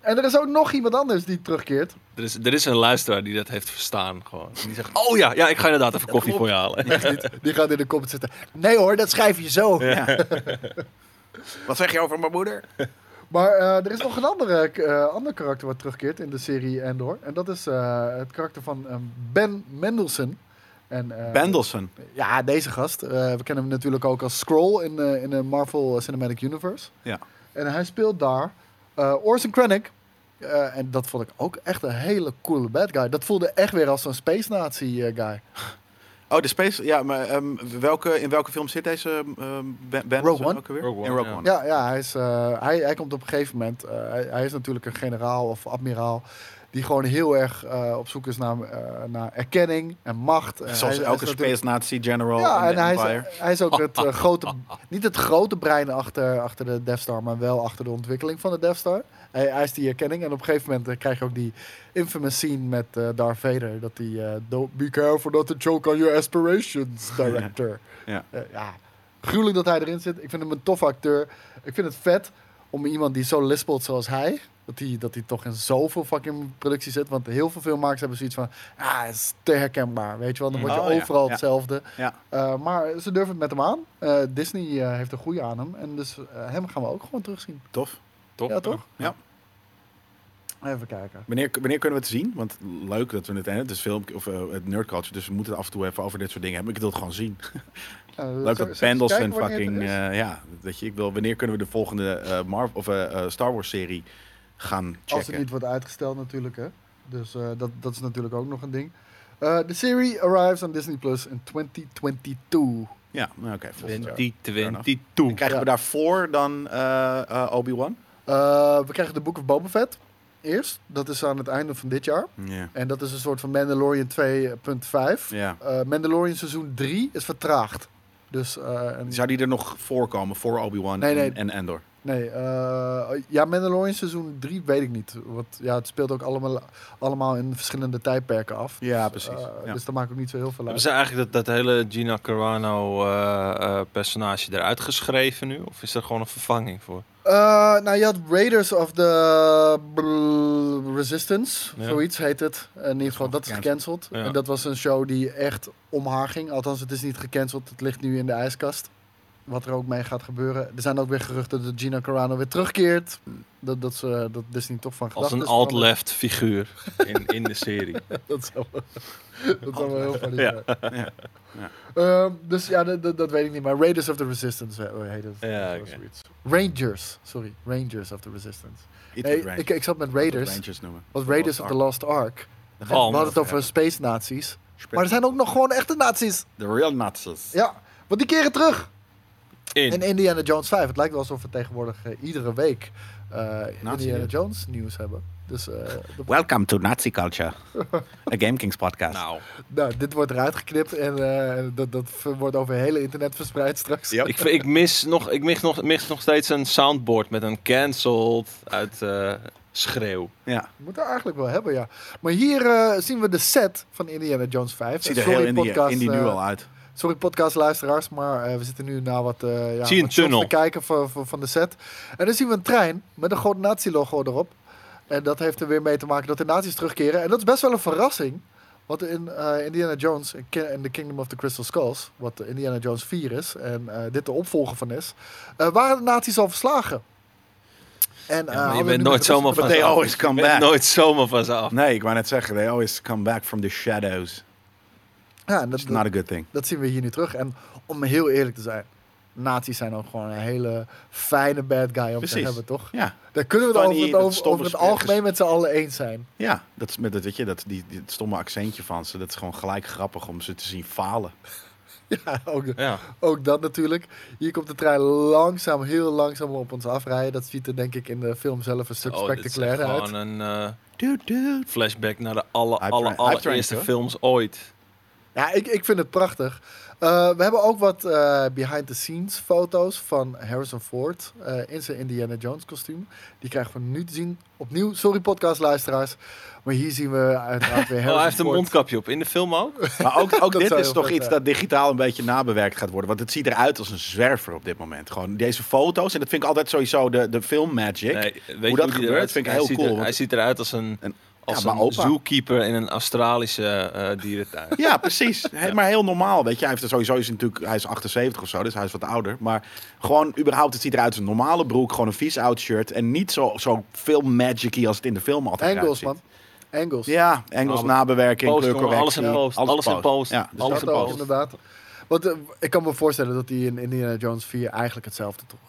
C: En er is ook nog iemand anders die terugkeert.
D: Er is, er is een luisteraar die dat heeft verstaan. Gewoon. Die zegt, oh ja, ja, ik ga inderdaad even koffie voor je halen.
C: Echt niet. Die gaat in de comments zitten. Nee hoor, dat schrijf je zo.
B: Ja. wat zeg je over mijn moeder?
C: Maar eh, er is nog een andere, eh, ander karakter wat terugkeert in de serie Endor. En dat is eh, het karakter van eh, Ben Mendelsohn. En, eh,
B: Bendelsen.
C: Ja, deze gast. Eh, we kennen hem natuurlijk ook als Scroll in, eh, in de Marvel Cinematic Universe.
B: Ja.
C: En hij speelt daar eh, Orson Krennic. Eh, en dat vond ik ook echt een hele coole bad guy. Dat voelde echt weer als zo'n space nazi eh, guy.
B: Oh, de Space. Ja, maar ehm, welke, in welke film zit deze ehm Ben? Bendelsen
C: Rogue One.
B: ook alweer?
D: Rogue One,
B: in Rogue
D: ja.
B: One.
C: Ja, ja hij, is, eh, hij, hij komt op een gegeven moment. eh, hij, hij is natuurlijk een generaal of admiraal. Die gewoon heel erg eh, op zoek is naar, eh, naar erkenning en macht. En
B: Zoals
C: hij- hij
B: elke
C: is
B: Space Nazi General
C: natuurlijk- Ja,
B: in
C: en
B: the
C: hij
B: Empire.
C: is, hij is ook het eh, grote. Niet het grote brein achter, achter de Death Star, maar wel achter de ontwikkeling van de Death Star. Hij hij eist die erkenning. En op een gegeven moment eh, krijg je ook die infamous scene met eh, Darth Vader. Dat hij. eh, Don't be careful not to choke on your aspirations, director.
B: Ja.
C: Eh, ja, gruwelijk dat hij erin zit. Ik vind hem een toffe acteur. Ik vind het vet om iemand die zo lispelt zoals hij... dat hij dat hij toch in zoveel fucking productie zit. Want heel veel filmmakers hebben zoiets van... ah, het is te herkenbaar, weet je wel. Dan word je
B: Oh, ja.
C: overal
B: Ja.
C: hetzelfde.
B: Ja.
C: Eh, maar ze durven het met hem aan. Eh, Disney eh, heeft een goede aan hem. En dus eh, hem gaan we ook gewoon terugzien.
B: Tof.
D: Top.
C: Ja, toch?
B: Ja.
C: Even kijken.
B: Wanneer, wanneer kunnen we het zien? Want leuk dat we het... hè, Het is film, of eh, het nerdculture, dus we moeten het af en toe even over dit soort dingen hebben. Ik wil het gewoon zien.
C: Eh,
B: Leuk
C: zo-
B: dat
C: zo- eens
B: Pendelsen
C: kijken wanneer het
B: fucking...
C: is.
B: eh, ja, dat je, ik wil, wanneer kunnen we de volgende eh, Marv- of, eh, eh, Star Wars serie gaan
C: Als het
B: checken?
C: niet wordt uitgesteld natuurlijk, hè. Dus eh, dat, dat is natuurlijk ook nog een ding. Eh, De serie arrives on Disney Plus in 2022.
B: Ja, nou, oké. volgend jaar.
D: 2022.
B: Krijgen we
C: Ja.
B: daarvoor dan eh, eh, Obi-Wan?
C: Eh, we krijgen de Book of Boba Fett eerst. Dat is aan het einde van dit jaar.
B: Ja.
C: En dat is een soort van Mandalorian 2.5.
B: ja.
C: Eh, Mandalorian seizoen 3 is vertraagd. Dus, eh, en-
B: Zou die er nog voorkomen voor Obi-Wan
C: Nee, nee.
B: En, en Endor?
C: nee, eh, ja, Mandalorian seizoen 3 weet ik niet. Want ja, het speelt ook allemaal, allemaal in verschillende tijdperken af.
B: Ja,
C: Dus,
B: precies.
C: eh,
B: Ja.
C: Dus daar maak ik niet zo heel veel
D: Hebben
C: uit.
D: ze eigenlijk dat, dat hele Gina Carano eh, eh, personage eruit geschreven nu? Of is er gewoon een vervanging voor?
C: Eh, nou, je had Raiders of the brrr, Resistance,
D: Ja.
C: zoiets heet het. In ieder geval, dat is gecanceld.
D: Ja.
C: En dat was een show die echt om haar ging. Althans, het is niet gecanceld, het ligt nu in de ijskast. Wat er ook mee gaat gebeuren. Er zijn ook weer geruchten dat Gina Carano weer terugkeert. Dat, dat, ze, dat Disney toch van
D: Als
C: gedachten
D: een
C: is veranderd.
D: alt-left figuur in, in de serie.
C: Dat zou, dat zou wel heel funny zijn.
B: Ja. Ja.
C: Ehm, dus ja, dat, dat- dat weet ik niet. Maar Raiders of the Resistance eh, heet het.
D: Ja,
C: Zo-
D: oké.
C: zoiets. Rangers, sorry. Rangers of the Resistance.
B: Iets
C: Nee,
B: met Rangers.
C: ik, ik zat met
B: Dat
C: Raiders.
B: Rangers noemen.
C: Was Raiders of the Lost Ark.
B: Dan
D: Oh,
B: gaan we-
C: We hadden het over space nazi's.
B: Spe-
C: Maar er zijn ook nog gewoon echte nazi's.
B: The real Nazis.
C: Ja, want die keren terug. In
D: In.
C: Indiana Jones 5. Het lijkt wel alsof we tegenwoordig eh, iedere week eh, Indiana
B: nieuws.
C: Jones nieuws hebben. Dus eh, dat-
B: Welcome to Nazi Culture. A Game Kings podcast.
D: Nou,
C: nou, dit wordt eruit geknipt en eh, dat, dat ver- wordt over het hele internet verspreid straks.
B: Ja.
D: ik, ik, mis nog, ik mis, nog, mis nog steeds een soundboard met een cancelled uit eh, schreeuw.
B: Ja.
C: Moet er eigenlijk wel hebben, ja. Maar hier eh, zien we de set van Indiana Jones 5.
B: Ziet er
C: Sorry,
B: heel in die,
C: podcast,
B: in die nu
C: eh,
B: al uit.
C: Sorry podcastluisteraars, maar eh, we zitten nu naar wat, eh ja,
D: Zie je
C: wat shots
D: een tunnel?
C: te kijken van, van, van de set. En dan zien we een trein met een groot nazi-logo erop. En dat heeft er weer mee te maken dat de nazi's terugkeren. En dat is best wel een verrassing. Want in eh, Indiana Jones en Ki- en The Kingdom of the Crystal Skulls, wat de Indiana Jones 4 is en eh, dit de opvolger van is, eh, waren de nazi's al verslagen. En, eh,
D: maar je
C: hadden we
D: bent
C: nu
D: nooit
C: met de
D: zomaar
C: Russen-
B: But they always come
D: Ik ben
B: back.
D: nooit zomaar van ze af.
B: Nee, ik wou net zeggen. They always come back from the shadows.
C: Ja, en dat,
B: It's not a good thing.
C: Dat zien we hier nu terug. En om heel eerlijk te zijn, nazi's zijn ook gewoon een hele fijne bad guy om te
B: Precies.
C: hebben, toch?
B: Ja,
C: Daar kunnen we het
B: Funny,
C: over, het
B: dat
C: over,
B: stomme
C: over het
B: smerige-
C: algemeen met z'n allen eens zijn.
B: ja. Dat, is met, dat, weet je, dat, die, die stomme accentje van ze. Dat is gewoon gelijk grappig om ze te zien falen.
C: Ja, ook,
D: Ja.
C: ook dat natuurlijk. Hier komt de trein langzaam, heel langzaam op ons afrijden. Dat ziet er denk ik in de film zelf een stuk
D: Oh, dit is echt
C: spectaculair uit.
D: gewoon een eh,
B: Dude, dude.
D: flashback naar de alle,
B: Hype
D: alle,
B: train- hype trains,
D: allereerste
B: hoor.
D: films ooit.
C: Ja, ik, ik vind het prachtig. Eh, we hebben ook wat eh, behind-the-scenes foto's van Harrison Ford eh, in zijn Indiana Jones kostuum. Die krijgen we nu te zien. Opnieuw, sorry podcastluisteraars. Maar hier zien we uiteraard weer Harrison
D: Oh, hij heeft een
C: Ford.
D: mondkapje op. In de film ook?
B: Maar ook, ook
C: Dat
B: dit
C: zou
B: is
C: heel
B: toch
C: vet
B: iets
C: zijn.
B: dat digitaal een beetje nabewerkt gaat worden. Want het ziet eruit als een zwerver op dit moment. Gewoon deze foto's. En dat vind ik altijd sowieso de, de film magic.
D: Nee, weet je
B: dat
D: die
B: gebeurt,
D: eruit
B: vind ik heel
D: ziet? Hij ziet
B: cool,
D: er-
B: want-
D: hij ziet eruit als een,
B: En-
D: als
B: ja,
D: een
B: maar opa.
D: zookeeper in een Australische eh, dierentuin.
B: Ja, precies. He- maar heel normaal, weet je. Hij heeft er sowieso is natuurlijk, hij is 78 of zo, dus hij is wat ouder. Maar gewoon überhaupt, het ziet eruit als een normale broek, gewoon een vies oud shirt. En niet zo, zo veel magic als het in de film altijd
C: Engels,
B: eruit
C: man.
B: ziet.
C: Engels.
B: Ja, Engels
D: Oh,
B: nabewerking,
D: Post, jongen,
B: kleurcorrectie.
D: alles in
C: Ja,
D: post.
B: alles
D: Alles in
B: post.
D: post.
B: Ja, dus
D: alles
C: dat
D: in
C: ook,
D: post.
C: inderdaad. Want eh, ik kan me voorstellen dat hij in Indiana Jones 4 eigenlijk hetzelfde droeg.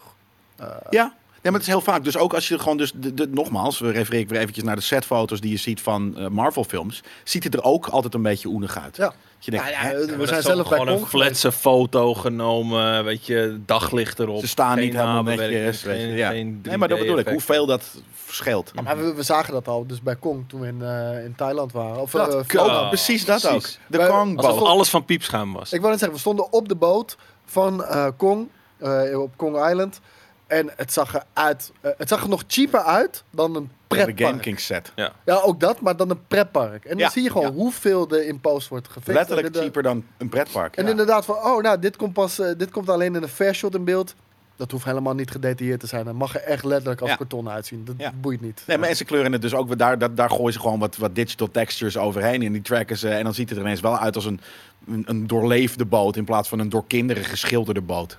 B: Ja. Ja, maar het is heel vaak. Dus ook als je gewoon dus... De, de- nogmaals, we refereren weer eventjes naar de setfoto's die je ziet van eh, Marvel-films. Ziet het er ook altijd een beetje oenig uit.
C: Ja.
B: Dat Je denkt,
C: Ja, ja,
B: hè?
C: we
D: Ja, maar
C: zijn
D: dat is
C: zelf bij
D: gewoon een
C: Kong geweest.
D: flatse foto genomen, weet je, daglicht erop.
B: Ze staan niet
D: Geen
B: helemaal
D: nabewerking,
B: netjes. weet je,
D: geen-
B: ja.
D: geen
B: nee, maar dat bedoel ik.
D: 3D-effecten.
B: Hoeveel dat scheelt.
D: Mhm.
C: Ja, maar we, we zagen dat al, dus bij Kong, toen we in, eh, in Thailand waren. Of, eh,
B: Dat,
C: Vietnam.
D: kan.
B: ook, precies dat
D: precies.
B: ook. De
C: Wij-
B: Kongboot.
D: Alsof alles van piepschuim was.
C: Ik wou net zeggen, we stonden op de boot van eh, Kong, eh, op Kong Island. En het zag, er uit, eh, het zag er nog cheaper uit dan een
B: De Game
C: pretpark.
B: King set.
C: Ja, ook dat, maar dan een pretpark. En dan
B: Ja,
C: zie je gewoon
B: ja.
C: hoeveel er in post wordt gefixt.
B: Letterlijk
C: En de-
B: cheaper dan een pretpark.
C: En
B: ja.
C: inderdaad van, oh, nou, dit komt, pas, eh, dit komt alleen in een fair shot in beeld. Dat hoeft helemaal niet gedetailleerd te zijn. Dat mag er echt letterlijk als
B: Ja.
C: karton uitzien. Dat
B: Ja.
C: boeit niet.
B: Nee, maar en ze kleuren het dus ook. weer- Daar, daar, daar gooien ze gewoon wat, wat digital textures overheen. En die tracken ze. En dan ziet het er ineens wel uit als een, een, een doorleefde boot. In plaats van een door kinderen geschilderde boot.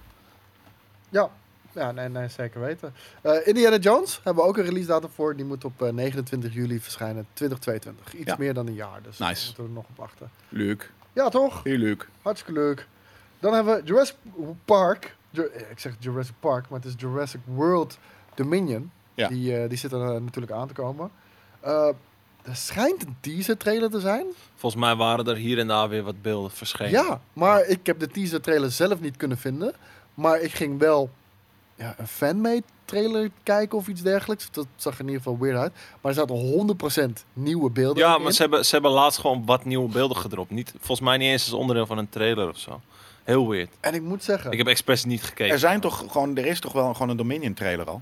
C: Ja, ja nee, nee, zeker weten. Eh, Indiana Jones hebben we ook een release datum voor. Die moet op eh, 29 juli verschijnen, 2022. Iets
B: Ja.
C: meer dan een jaar, dus
B: Nice.
C: daar moeten we er nog op wachten.
B: Leuk.
C: Ja, toch?
B: Heel leuk.
C: Hartstikke leuk. Dan hebben we Jurassic Park. Ju- eh, ik zeg Jurassic Park, maar het is Jurassic World Dominion.
B: Ja.
C: Die, eh, die zit er eh, natuurlijk aan te komen. Eh, er schijnt een teaser trailer te zijn.
D: Volgens mij waren er hier en daar weer wat beelden verschenen.
C: Ja, maar ik heb de teaser trailer zelf niet kunnen vinden. Maar ik ging wel ja, een fanmade trailer kijken of iets dergelijks. Dat zag er in ieder geval weird uit. Maar er zaten 100% nieuwe beelden
D: Ja,
C: ook
D: maar
C: in.
D: ze hebben, ze hebben laatst gewoon wat nieuwe beelden gedropt. Niet, volgens mij niet eens als onderdeel van een trailer of zo. Heel weird.
C: En ik moet zeggen,
D: Ik heb expres niet gekeken.
B: Er, zijn toch gewoon, er is toch wel gewoon een Dominion trailer al?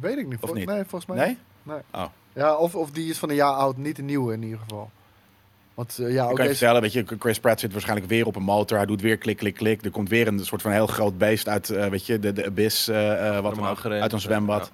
C: weet ik niet.
B: Of
C: Vol-
B: niet?
C: Nee, volgens mij
B: Nee?
C: Nee.
B: Oh.
C: Ja, of, of die is van een jaar oud, niet de nieuwe in ieder geval. Want eh,
B: Ik
C: ja, ook
B: kan je
C: deze-
B: vertellen, weet je, Chris Pratt zit waarschijnlijk weer op een motor. Hij doet weer klik, klik, klik. Er komt weer een soort van heel groot beest uit, eh, weet je, de, de abyss, eh, eh, wat dan
D: Normaal
B: ook,
D: gerend,
B: uit een
D: eh,
B: zwembad.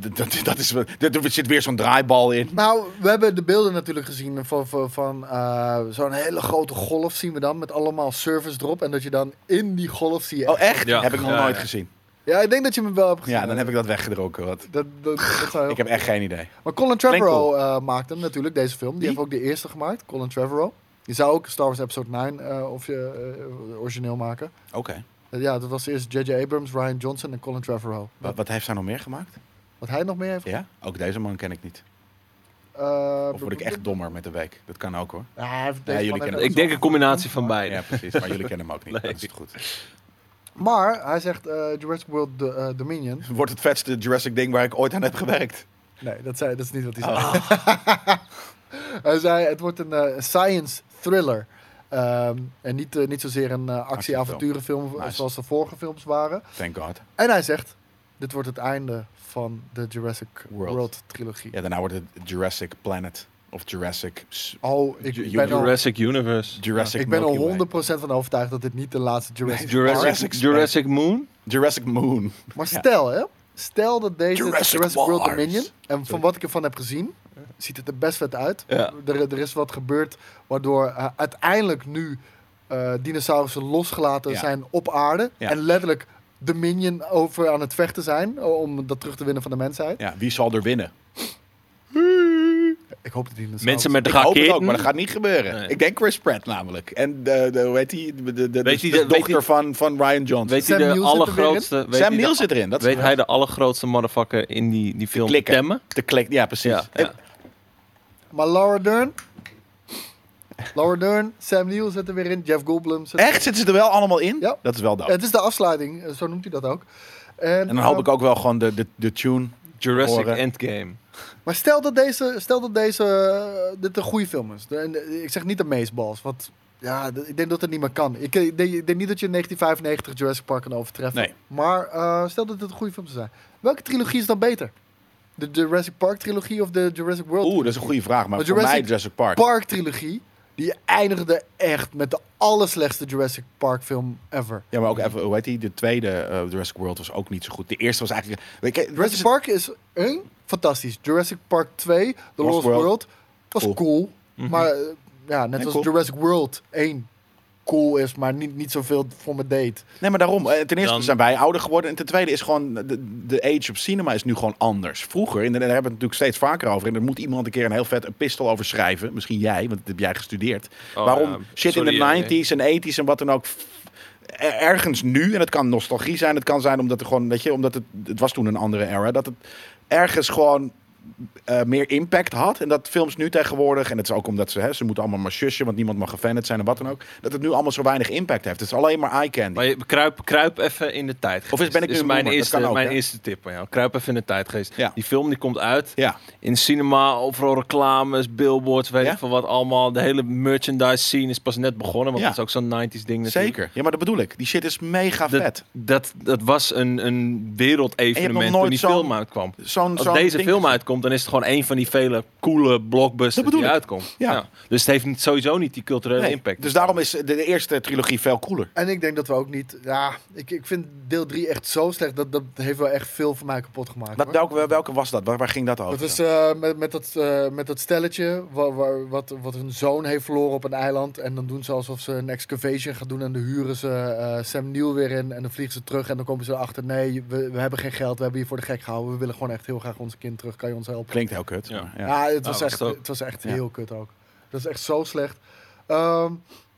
B: D- Dat, dat is, wel- er er zit weer zo'n draaibal in.
C: Nou, we hebben de beelden natuurlijk gezien van, van, van eh, zo'n hele grote golf zien we dan met allemaal service drop. En dat je dan in die golf zie je...
B: Oh, echt?
D: Ja.
B: Heb ik nog
D: Ja,
B: nooit
D: ja.
B: gezien.
C: Ja, ik denk dat je me wel hebt gezien.
B: Ja, dan heb ik dat weggedronken. Wat.
C: Dat, dat, dat zou heel
B: Ik heb echt geen idee.
C: Maar Colin Trevorrow eh, maakte hem natuurlijk, deze film. Die,
B: Wie?
C: heeft ook de eerste gemaakt, Colin Trevorrow. Die zou ook Star Wars Episode 9 eh, of je, eh, origineel maken.
B: Oké.
C: Eh, ja, dat was eerst J.J. Abrams, Ryan Johnson en Colin Trevorrow.
B: Wat, wat heeft hij nog meer gemaakt?
C: Wat hij nog meer heeft...
B: Ja? Ook deze man ken ik niet.
C: eh,
B: Of word ik echt dommer met de week? Dat kan ook hoor.
C: Ja, hij heeft-
B: Ja,
C: deze
B: jullie
C: man heeft
B: kennen
C: ook
D: Ik denk
C: zo-
D: een combinatie van beide.
B: Ja, precies. Maar jullie kennen hem ook niet.
D: Nee.
B: Dat is het goed.
C: Maar hij zegt eh, Jurassic World Do- eh, Dominion.
B: Wordt het vetste Jurassic ding waar ik ooit aan heb gewerkt.
C: Nee, dat, zei, dat is niet wat hij zei.
B: Oh.
C: hij zei, het wordt een eh, science thriller. Ehm, en niet, eh, niet zozeer een eh, actie-avonturenfilm
B: Nice.
C: zoals de vorige films waren.
B: Thank God.
C: En hij zegt, dit wordt het einde van de Jurassic World,
B: World.
C: trilogie.
B: Ja, daarna wordt het Jurassic Planet. Of Jurassic... S-
C: Oh, ik
B: Ju-
C: ben, al,
D: Jurassic Universe.
B: Jurassic
C: ik ben al
B: Milky Way.
C: 100% van overtuigd dat dit niet de laatste Jurassic World is.
D: Jurassic,
B: Jurassic
D: Jurassic Moon?
B: Jurassic Moon.
C: Maar
B: Ja.
C: stel, hè? Stel dat deze Jurassic,
B: Jurassic
C: World
B: Wars.
C: Dominion, en van wat ik ervan heb gezien, ziet het er best vet uit.
D: Ja.
C: Er, er is wat gebeurd waardoor eh, uiteindelijk nu eh, dinosaurussen losgelaten
B: Ja.
C: zijn op aarde.
B: Ja.
C: En letterlijk Dominion over aan het vechten zijn om dat terug te winnen van de mensheid.
B: Ja, wie zal er winnen?
C: Ik hoop dat die dinosaurussen...
D: Mensen met
B: Ik hoop het ook,
D: raketten?
B: maar dat gaat niet gebeuren.
D: Nee.
B: Ik denk Chris Pratt namelijk. En de, de, hoe heet die? De, de, de,
D: Weet
B: de
D: hij dat- weet
B: dochter
D: hij-
B: van, van Ryan Johnson.
D: Weet
C: Sam
D: hij de
C: Neill zit er
D: allergrootste... weet
B: Sam
D: hij de-
B: Neill zit erin. Dat
D: Weet
B: is
D: hij de allergrootste motherfucker in die, die film te
B: klikker.
D: temmen?
B: te klik. Ja, precies.
D: Ja, ja.
B: En-
C: Maar Laura Dern... Laura Dern, Sam Neill zit er weer in, Jeff Goldblum zit
B: Echt? Zitten ze er wel allemaal in?
C: Ja.
B: Dat is wel dood.
C: Het is de afsluiting, eh, zo noemt hij dat ook. En,
B: En dan hoop
C: ehm,
B: ik ook wel gewoon de, de, de tune.
D: Jurassic
B: Horen.
D: Endgame.
C: Maar stel dat deze, stel dat deze eh, dit een goede film is. De- en, eh, ik zeg niet de meestbals, want ja, d- ik denk dat het niet meer kan. Ik, eh, denk, ik denk niet dat je 1995 Jurassic Park kan overtreffen.
B: Nee.
C: Maar eh, stel dat dit een goede film zou zijn. Welke trilogie is dan beter? De Jurassic Park trilogie of de Jurassic World?
B: Oeh, dat is een goede vraag. Maar
C: Maar
B: voor mij
C: Jurassic
B: Jurassic Park.
C: Park trilogie, die eindigde echt met de allerslechtste Jurassic Park film ever.
B: Ja, maar ook even, hoe heet die? De tweede eh, Jurassic World was ook niet zo goed. De eerste was eigenlijk... Weet je, dat
C: Jurassic
B: is-
C: Park is één, fantastisch. Jurassic Park 2, The Lost,
B: Lost World.
C: World, was cool.
B: Cool.
C: Maar eh, ja, net
B: Nee,
C: als
B: cool.
C: Jurassic World 1 cool is, maar niet, niet zoveel voor me deed.
B: Nee, maar daarom. eh, Ten eerste
D: Dan-
B: zijn wij ouder geworden. En ten tweede is gewoon... De, de age of cinema is nu gewoon anders. Vroeger, en daar hebben we het natuurlijk steeds vaker over... en daar moet iemand een keer een heel vet epistel over schrijven. Misschien jij, want dat heb jij gestudeerd.
D: Oh,
B: Waarom
D: ja.
B: shit
D: Sorry, eh,
B: in de 90s en 80s en wat dan ook... f- er- ergens nu, en het kan nostalgie zijn... het kan zijn omdat, er gewoon, weet je, omdat het, het was toen een andere era... dat het ergens gewoon eh, meer impact had. En dat films nu tegenwoordig, en het is ook omdat ze, hè, ze moeten allemaal maar shushen, want niemand mag gefanned zijn en wat dan ook, dat het nu allemaal zo weinig impact heeft. Het is alleen maar eye candy.
D: Maar je, kruip, kruip even in de tijd.
B: Of is- ben ik nu
D: is
B: een
D: mijn
B: boomer? Dat
D: eerste,
B: kan ook,
D: mijn
B: hè?
D: eerste tip aan jou. Kruip even in de tijdgeest.
B: Ja.
D: Die film die komt uit
B: Ja,
D: in cinema, overal reclames, billboards, weet
B: Ja?
D: ik veel wat allemaal. De hele merchandise scene is pas net begonnen, want
B: Ja.
D: dat is ook zo'n 90s ding natuurlijk.
B: zeker. Ja, maar dat bedoel ik. Die shit is mega
D: Dat,
B: vet.
D: dat, dat was een, een wereldevenement toen
B: nooit
D: die
B: zo'n-
D: film uitkwam.
B: Zo'n
D: Als
B: zo'n
D: deze
B: ding-
D: film uitkomt, dan is het gewoon een van die vele coole
B: Dat
D: blockbusters
B: bedoel
D: die
B: ik.
D: uitkomt.
B: Ja.
D: Dus het heeft niet, sowieso niet die culturele
B: Nee,
D: impact.
B: Dus daarom is de, de eerste trilogie veel cooler.
C: En ik denk dat we ook niet... Ja, ik, ik vind deel 3 echt zo slecht. Dat, dat heeft wel echt veel van mij kapot gemaakt.
B: Wat,
C: hoor.
B: welke, welke was dat? Waar, waar ging dat over?
C: Dat is eh, met, met, dat, eh, met dat stelletje wa- wa- wat, wat hun zoon heeft verloren op een eiland. En dan doen ze alsof ze een excavation gaan doen. En dan huren ze eh, Sam Neill weer in. En dan vliegen ze terug. En dan komen ze erachter. Nee, we, we hebben geen geld. We hebben je voor de gek gehouden. We willen gewoon echt heel graag ons kind terug. Kan je ons helpen?
B: Klinkt heel kut.
D: Ja.
B: maar Ja.
C: eh, Ja, het
D: Nou,
C: was,
D: dat
C: echt,
D: is ook-
C: het was echt
B: Ja.
C: heel kut ook. Dat is echt zo slecht. Ehm,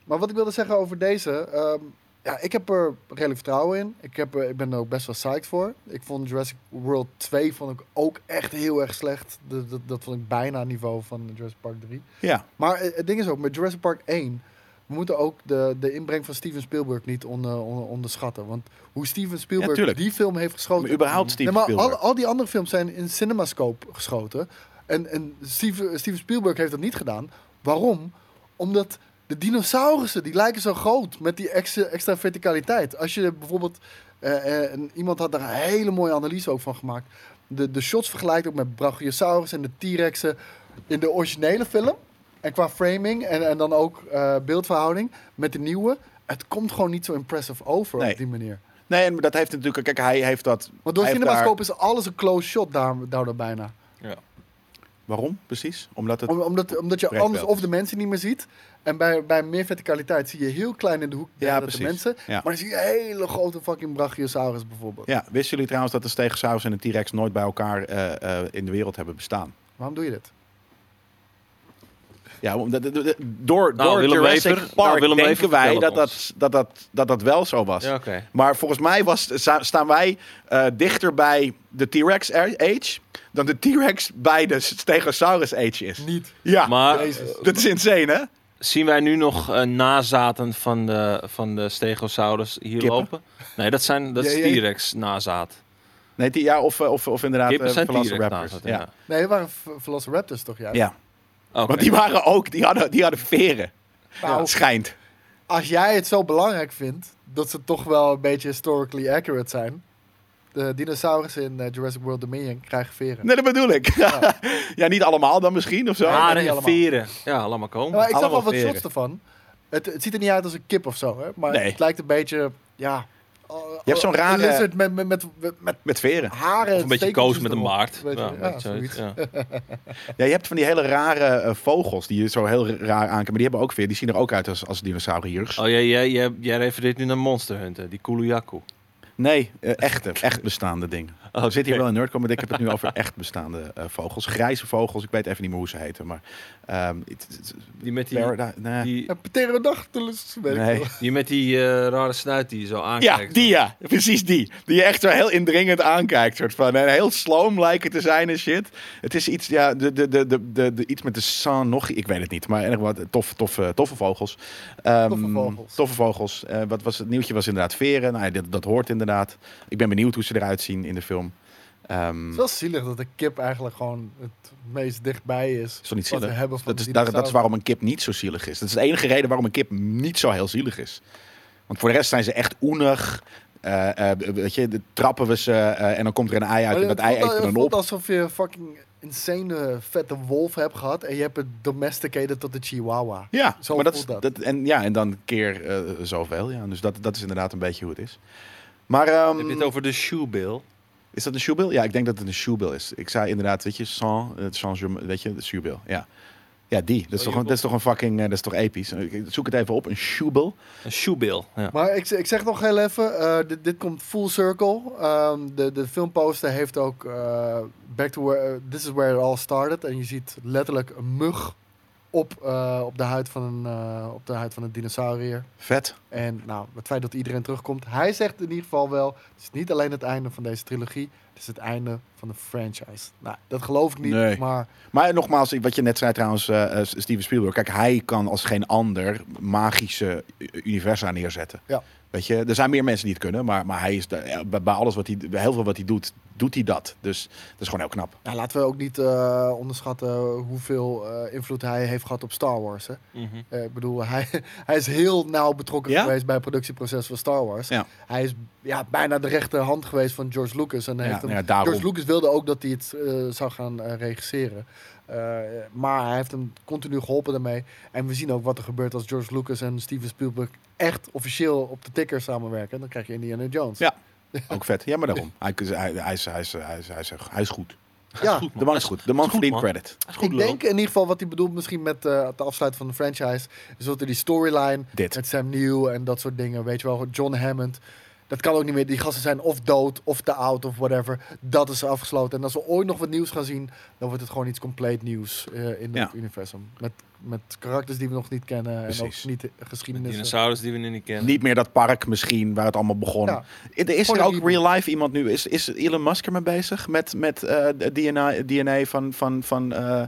C: maar wat ik wilde zeggen over deze. ehm, ja, ik heb er redelijk vertrouwen in. Ik, heb er, ik ben er ook best wel psyched voor. Ik vond Jurassic World 2 vond ik ook echt heel erg slecht. Dat, dat, dat vond ik bijna het niveau van Jurassic Park 3.
B: ja.
C: Maar eh, het ding is ook, met Jurassic Park 1... We moeten ook de, de inbreng van Steven Spielberg niet onder, onder- onderschatten. Want hoe Steven Spielberg
B: tuurlijk.
C: die film heeft geschoten...
B: Maar überhaupt Steven
C: Nee, maar
B: Spielberg.
C: al, al die andere films zijn in cinemascope geschoten. En, en Steven, Steven Spielberg heeft dat niet gedaan. Waarom? Omdat de dinosaurussen, die lijken zo groot met die extra, extra verticaliteit. Als je bijvoorbeeld, eh, eh, en iemand had daar een hele mooie analyse ook van gemaakt. De, de shots vergelijkt ook met Brachiosaurus en de T-Rexen in de originele film. En qua framing en, en dan ook eh, beeldverhouding met de nieuwe. Het komt gewoon niet zo impressive over
B: Nee.
C: op die manier.
B: Nee, en dat heeft natuurlijk... Kijk, hij heeft dat...
C: Want door
B: hij heeft
C: Cinemascope
B: daar-
C: is alles een close shot daar, daardoor bijna.
D: Ja.
B: Waarom precies? Omdat het...
C: Om- omdat, omdat je
B: Breedbeeld
C: anders
B: is.
C: of de mensen niet meer ziet. En bij, bij meer verticaliteit zie je heel klein in de hoek
B: Ja,
C: dat de
B: precies.
C: mensen.
B: Ja.
C: Maar dan zie je hele grote fucking Brachiosaurus bijvoorbeeld.
B: Ja, wisten jullie trouwens dat de Stegosaurus en de T-Rex nooit bij elkaar eh, eh, in de wereld hebben bestaan?
C: Waarom doe je dit?
B: Ja, omdat- de- de- de- door,
D: Nou,
B: door
D: Willem
B: Jurassic
D: Wever- nou,
B: Park
D: Willem
B: denken
D: Wever
B: wij dat
D: vertelde
B: dat, dat, dat, dat dat wel zo was.
D: Ja, oké.
B: Maar volgens mij was, sta- staan wij eh, dichter bij de T-Rex er- age dan de T-Rex bij de Stegosaurus age is.
C: Niet.
B: Ja,
D: Maar
C: Jezus.
B: dat is insane, hè?
D: zien wij nu nog eh, nazaten van de, van de stegosaurus hier
B: Kippen.
D: lopen? Nee, dat, zijn, dat is
C: Jee, jee.
D: T-Rex nazaat.
B: Nee, die, ja, of, eh, of, of inderdaad
D: Kippen
B: eh,
D: zijn T-Rex
B: Velociraptors.
D: nazaat.
B: Ja.
D: Ja. Oh,
C: Nee, het waren v- Velociraptors toch juist?
B: Ja.
D: Oké.
B: want die waren ook, die hadden, die hadden veren.
C: Nou,
B: Schijnt.
C: Als jij het zo belangrijk vindt dat ze toch wel een beetje historically accurate zijn. De dinosaurussen in eh, Jurassic World Dominion krijgen veren.
B: Nee, dat bedoel ik. Ja. niet allemaal dan misschien of zo.
C: Ja,
D: Haren
C: niet
D: en
C: allemaal.
D: veren. Ja, laat maar komen.
C: Ja, maar ik zag al
B: allemaal
C: wat
B: veren.
C: shots ervan. Het, het ziet er niet uit als een kip of zo, hè? maar
B: Nee.
C: het lijkt een beetje, ja... Je
B: hebt zo'n rare-
C: lizard met, met, met, met, met
B: Met veren.
C: haren.
D: Of een beetje
C: stekeltjes
D: koos met een
C: erop.
D: baard.
C: Weet je,
D: ja,
C: ja,
D: een beetje zoiets,
C: zoiets.
D: ja.
B: Ja, je hebt van die hele rare eh, vogels die je zo heel raar aankijken. Maar die hebben ook weer, die zien er ook uit als, als dinosauriërs.
D: Oh, jij, jij, jij, jij refereert nu naar Monster Hunter, die Kuluyaku.
B: Nee, eh, echte, echt bestaande dingen.
D: Oh,
B: We zitten hier wel in Nerdcom, maar ik heb het nu over echt bestaande eh, vogels. Grijze vogels, ik weet even niet meer hoe ze heten. Maar ehm, het- het- het-
D: Die met die,
B: Parada- nee.
D: die,
C: Een pterodactylus, weet ik
B: Nee.
C: wel.
D: die, met die eh, rare snuit die je zo
B: Ja,
D: aankijkt.
B: die ja. Precies die. Die je echt zo heel indringend aankijkt. Soort van. En heel sloom lijken te zijn en shit. Het is iets, ja, de, de, de, de, de, de- iets met de san nog. Ik weet het niet. Maar erg wat, tof, tof, eh, toffe vogels. Ehm,
C: Toffe vogels.
B: Toffe vogels. Eh, wat was, het nieuwtje was inderdaad veren. Nou, ja, dat, dat hoort inderdaad. Ik ben benieuwd hoe ze eruit zien in de film. Ehm,
C: Het is wel zielig dat een kip eigenlijk gewoon het meest dichtbij is.
B: is toch niet
C: wat we
B: zielig?
C: hebben van
B: Dat is, daar-
C: dinosaurus.
B: dat is waarom een kip niet zo zielig is. Dat is de enige reden waarom een kip niet zo heel zielig is. Want voor de rest zijn ze echt oenig. Eh, eh, weet je, de trappen we ze eh, en dan komt er een ei uit en
C: Maar
B: dat ei
C: het voelt-
B: eet er
C: het
B: dan
C: voelt
B: op.
C: alsof je een fucking insane eh, vette wolf hebt gehad en je hebt het domesticated tot de chihuahua.
B: Ja,
C: Zo
B: maar dat, is-
C: voelt dat.
B: dat- en, ja, en dan keer eh, zoveel. Ja. Dus dat, dat is inderdaad een beetje hoe het is. Maar ehm,
D: Heb je
C: Mm.
D: het over de shoebill?
B: is dat een shoebill? Ja, ik denk dat het een shoebill is. Ik zei inderdaad, weet je, sans, eh, sans weet je, de shoebill. Ja, ja die. Dat is, toch, een- dat is toch een fucking, eh, dat is toch episch. Ik- Zoek het even op, een shoebill.
D: Een shoebill, ja.
C: Maar ik, ik zeg nog heel even, eh, dit, dit komt full circle. Ehm, de, de filmposter heeft ook eh, Back to where, This is Where It All Started. En je ziet letterlijk een mug op, eh, op, de, huid van een, eh, op de huid van een dinosaurier.
B: Vet.
C: En nou, het feit dat iedereen terugkomt. Hij zegt in ieder geval wel, het is niet alleen het einde van deze trilogie. Het is het einde van de franchise. Nou, dat geloof ik niet,
B: Nee.
C: maar
B: Maar nogmaals, wat je net zei trouwens, eh, eh, Steven Spielberg. Kijk, hij kan als geen ander magische u- universa neerzetten.
C: Ja.
B: Weet je, er zijn meer mensen die het kunnen, maar, maar hij is de, eh, bij bij alles wat hij, bij heel veel wat hij doet, doet hij dat. Dus dat is gewoon heel knap.
C: nou, laten we ook niet eh, onderschatten hoeveel eh, invloed hij heeft gehad op Star Wars. Hè?
D: Mhm.
C: Eh, ik bedoel, hij, hij is heel nauw betrokken
B: Ja?
C: geweest bij het productieproces van Star Wars.
B: Ja.
C: Hij is ja, bijna de rechterhand geweest van George Lucas. En
B: Ja,
C: heeft hem,
B: nou ja, daarom.
C: George Lucas wilde ook dat hij het eh, zou gaan eh, regisseren. Eh, maar hij heeft hem continu geholpen daarmee. En we zien ook wat er gebeurt als George Lucas en Steven Spielberg echt officieel op de ticker samenwerken. Dan krijg je Indiana Jones.
B: Ja. Ook vet. Ja, maar daarom. Hij, hij, hij, is, hij, is, hij, is, hij, is, hij is goed.
C: Ja,
B: De man is goed. De man
D: goed,
B: verdient
D: man.
B: credit.
D: Dat is
C: ik
D: lul.
C: denk in ieder geval wat hij bedoelt misschien met eh, het afsluiten van de franchise. Is dat er die storyline
B: Dit.
C: met Sam Neill en dat soort dingen. Weet je wel, John Hammond. Dat kan ook niet meer. Die gasten zijn of dood of te oud of whatever. Dat is afgesloten. En als we ooit nog wat nieuws gaan zien, dan wordt het gewoon iets compleet nieuws eh, in
B: Ja.
C: het universum. Met, met karakters die we nog niet kennen en ook
B: Precies.
C: niet
D: Met
C: geschiedenis. eh.
D: Dinosaurus die we nu niet kennen.
B: Niet meer dat park misschien, waar het allemaal begon.
C: Ja.
B: Is er
C: Gewoon een
B: ook real life iemand nu? Is, is Elon Musk ermee bezig met, met eh, de DNA, DNA van... van, van eh,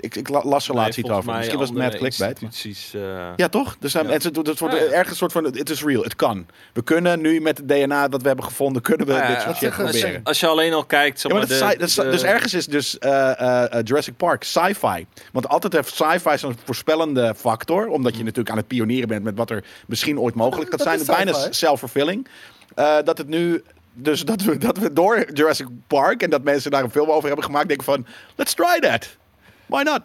B: ik, ik la- las er laatst iets over. Misschien was het net clickbait. maar-
D: Precies. eh
B: Ja, toch? Dus dan,
D: Ja.
B: Het, het, het wordt
D: Ja, ja.
B: ergens een soort van... Het is real, het kan. We kunnen nu met het DNA dat we hebben gevonden... kunnen we
D: Ja, ja,
B: dit
D: ja.
B: soort
D: Dat
B: shit
C: zeggen- dat
B: proberen.
C: zeggen-
D: Als je alleen al kijkt, zeg
B: Ja, maar
D: maar,
B: dat is
D: de-
B: sci- dat is-
D: de-
B: dus ergens is dus eh, eh, eh, Jurassic Park sci-fi. Want altijd heeft sci-fi zo'n voorspellende factor. Omdat je
D: Mm.
B: natuurlijk aan het pionieren bent met wat er misschien ooit mogelijk gaat
C: Dat
B: zijn.
C: is
B: Bijna
C: sci-fi.
B: self-fulfilling. Eh, dat het nu... Dus dat we, dat we door Jurassic Park en dat mensen daar een film over hebben gemaakt... denken van, let's try that. Why not?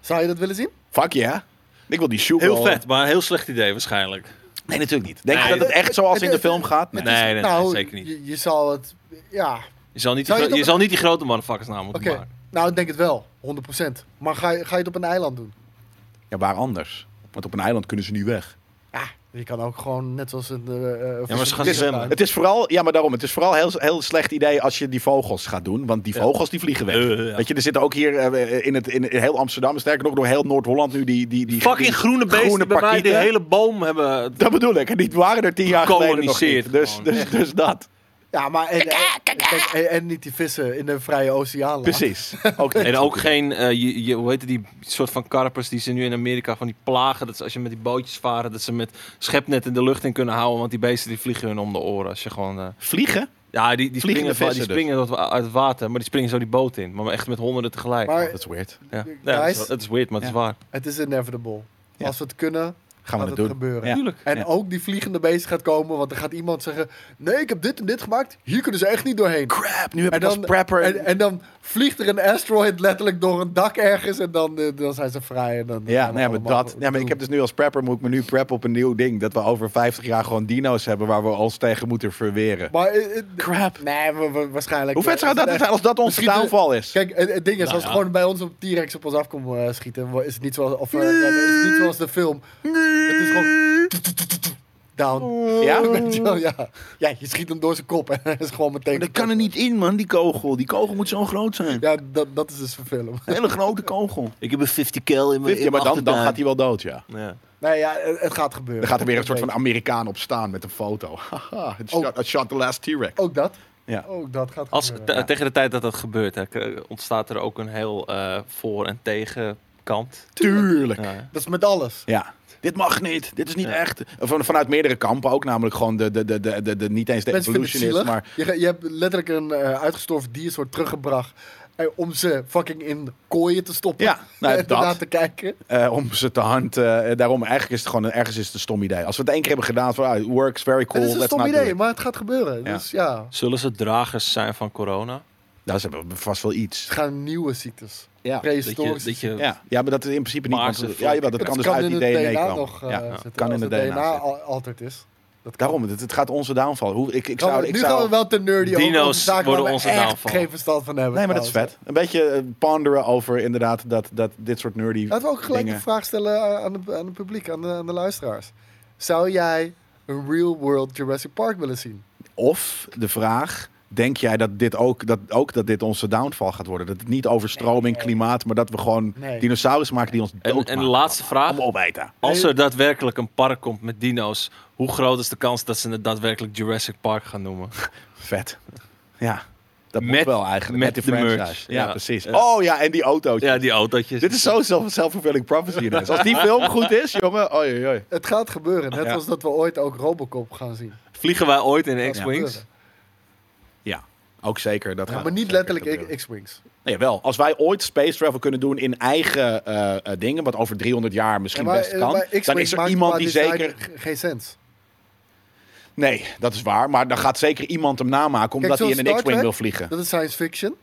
C: Zou je dat willen zien?
B: Fuck ja. Ik wil die shoe
D: Heel
B: wel.
D: vet, maar een heel slecht idee waarschijnlijk.
B: Nee, natuurlijk niet. Denk je
D: Nee,
B: dat het echt zoals in de film gaat?
D: Nee,
B: Nee.
D: nee, nee,
C: nou,
D: zeker niet.
C: Je, je zal het... Ja,
D: Je zal
C: Zou
D: niet die,
C: je
D: gro-
C: het
D: je
C: op-
D: zal niet die grote motherfuckers na moeten
C: oké.
D: maken.
C: Nou, ik denk het wel. 100%. Maar ga je, ga je het op een eiland doen?
B: Ja, waar anders? Want op een eiland kunnen ze nu weg.
C: Ja, je kan ook gewoon net zoals een... eh, eh,
D: Ja, maar ze gaan
C: vissersboot
D: zwemmen.
C: uit.
B: Het is vooral, ja, maar daarom. Het is vooral heel, heel slecht idee als je die vogels gaat doen. Want die
D: Ja.
B: vogels die vliegen weg.
D: Eh, ja.
B: Weet je, er zitten ook hier eh, in, het, in heel Amsterdam, sterker nog door heel Noord-Holland nu die. die, die
D: Fucking
B: die-
D: groene beesten
B: groene
D: bij mij die
B: parkieten.
D: hele boom hebben.
B: Dat bedoel ik. En die waren er tien jaar geleden nog niet.
D: Gekoloniseerd
B: Dus,
D: gewoon.
B: dus, dus dat.
C: Ja, maar en, eh, kijk, en, en niet die vissen in de vrije oceaan.
B: Precies. Ook niet.
D: En ook geen, eh, je, je, hoe heet het, die soort van karpers die ze nu in Amerika van die plagen. Dat ze als je met die bootjes varen, dat ze met schepnet in de lucht in kunnen houden. Want die beesten die vliegen hun om de oren. Als je gewoon, eh,
B: Vliegen?
D: ja, die, die
B: Vliegende
D: springen, va- die
B: vissen dus.
D: springen uit wa- uit het water, maar die springen zo die boot in. Maar echt met honderden tegelijk.
C: Maar
B: Dat is weird.
D: ja.
C: guys-
D: Ja, dat, is, wel- dat is weird, maar het is waar.
C: het is inevitable.
B: Ja.
C: Als we het kunnen,
B: Gaan we
C: gaat
B: dat
C: het
B: doen.
C: gebeuren.
B: Ja.
D: Tuurlijk.
C: En
B: Ja.
C: ook die vliegende beest gaat komen, want dan gaat iemand zeggen... Nee, ik heb dit en dit gemaakt. Hier kunnen ze echt niet doorheen.
B: Crap, nu heb
C: En
B: ik als
C: dan,
B: prepper...
C: en, en dan vliegt er een asteroid letterlijk door een dak ergens en dan, eh, dan zijn ze vrij. En dan
B: ja,
C: gaan we
B: nee, maar
C: allemaal
B: dat,
C: doen.
B: ja, maar ik heb dus nu als prepper, moet ik me nu preppen op een nieuw ding. Dat we over 50 jaar gewoon dino's hebben waar we ons tegen moeten verweren.
C: Maar, eh, eh,
B: Crap.
C: Nee, we- we- waarschijnlijk...
B: Hoe vet zou dat zijn als dat onze
C: Misschien de-
B: downfall is?
C: Kijk, het, het ding is,
D: Nou
C: als het
D: ja.
C: gewoon bij ons op T-Rex op ons af komt eh, schieten, wo- is het niet zoals, of, eh, rennen, is het niet zoals de film. Het is gewoon... Down.
B: Ja?
C: Weet je wel, ja. ja, je schiet hem door zijn kop en hij is gewoon meteen...
B: Dat kan er niet in, man, die kogel. Die kogel moet zo groot zijn.
C: Ja, dat, dat is dus een film.
B: Een hele grote kogel.
D: Ik heb een 50 kel in
B: Ja, maar dan, dan gaat hij wel dood, ja.
D: Ja.
C: Nee, ja, het, het gaat gebeuren.
B: Dan gaat er weer een soort van
C: Dat
B: Amerikaan op staan met een foto. Haha, it
C: Oh.
B: shot, it shot the last T-Rex.
C: weet ik. Ook dat.
B: Ja.
C: Ook dat gaat
D: Als,
C: gebeuren.
D: te- Tegen de tijd dat dat gebeurt, hè, k- ontstaat er ook een heel eh, voor- en tegenkant.
B: Tuurlijk.
D: Ja.
C: Dat is met alles.
B: Ja. Dit mag niet. Dit is niet
D: Ja.
B: echt. Van, vanuit meerdere kampen ook. Namelijk gewoon de, de, de, de, de, de- niet eens de
C: Mensen vinden het
B: evolution is.
C: zielig.
B: Maar
C: Je, ge- je hebt letterlijk een eh, uitgestorven diersoort teruggebracht eh, om ze fucking in kooien te stoppen.
B: Ja, nou,
C: en daarna
B: dat.
C: te kijken.
B: eh, om ze te hand. eh, daarom, eigenlijk is het gewoon een, ergens is het een stom idee. Als we het één keer hebben gedaan, van ah, it works, very cool.
C: het is een
B: let's
C: stom
B: not do
C: idee,
B: it.
C: maar het gaat gebeuren.
B: Ja.
C: Dus ja,
D: Zullen ze dragers zijn van corona?
B: Daar Nou, hebben we vast wel iets.
C: het gaan nieuwe ziektes.
B: Ja.
D: Dat je, dat
C: Prehistorische
D: je,
B: Ja, ja maar dat is in principe niet.
D: Maarse
B: want-
D: volk.
B: ja, jawel, dat
C: Het
B: kan dus uit die
C: in het
B: DNA, komen.
C: nog eh,
B: ja.
C: zitten.
B: kan in
C: als
B: de
C: het
B: DNA zitten.
C: al- altijd is. Dat kan.
B: Daarom, het, het gaat onze downfall. Hoe, ik, ik
C: Gaan
B: zou,
C: we-
B: ik
C: Oh, nu
B: zou...
C: gaan we wel te nerdy over
D: Dino's
C: over zaken
D: worden
C: waar we
D: onze
C: echt
D: downfall.
C: geen verstand van hebben.
B: Nee, maar dat is
C: trouwens.
B: vet. Een beetje eh, ponderen over inderdaad dat, dat dit soort nerdy
C: Laten we ook gelijk
B: dingen.
C: de vraag stellen eh, aan- aan het aan het publiek, aan de, aan de luisteraars. Zou jij een real world Jurassic Park willen zien?
B: Of de vraag: denk jij dat dit ook dat, ook dat dit onze downfall gaat worden? Dat het niet overstroming, klimaat, maar dat we gewoon
C: Nee.
B: dinosaurus maken die ons
D: En,
B: dood
D: en de laatste vraag.
B: Om opeten.
D: Als er daadwerkelijk een park komt met dino's, hoe groot is de kans dat ze het daadwerkelijk Jurassic Park gaan noemen?
B: Vet. Ja. Dat
D: Met-
B: moet wel eigenlijk.
D: met de merch.
B: Ja,
D: Ja.
B: precies.
D: Ja.
B: Oh ja, en die autootjes.
D: Ja, die autootjes.
B: Dit is zo zelf- self-fulfilling prophecy. ineens. Als die film goed is, jongen. Oi, oi, oi.
C: Het gaat gebeuren, net
B: Ja.
C: als dat we ooit ook Robocop gaan zien.
D: Vliegen wij ooit in
C: Dat gaat
D: X-Wings?
C: gebeuren.
B: Ja, ook zeker. Dat
C: Ja,
B: gaat
C: maar niet
B: zeker gebeuren.
C: letterlijk X-Wings.
B: Nee, wel. Nou Als wij ooit space travel kunnen doen in eigen eh, eh, dingen, wat over 300 jaar misschien
C: Ja, maar,
B: best
C: eh,
B: kan,
C: maar X-Wing
B: dan is er
C: maakt
B: iemand
C: qua
B: die
C: design
B: zeker.
C: ge- Geen sens.
B: Nee, dat is waar. Maar dan gaat zeker iemand hem namaken omdat
C: zo'n
B: hij in een
C: Star
B: X-wing
C: Trek,
B: wil vliegen.
C: Dat is science fiction.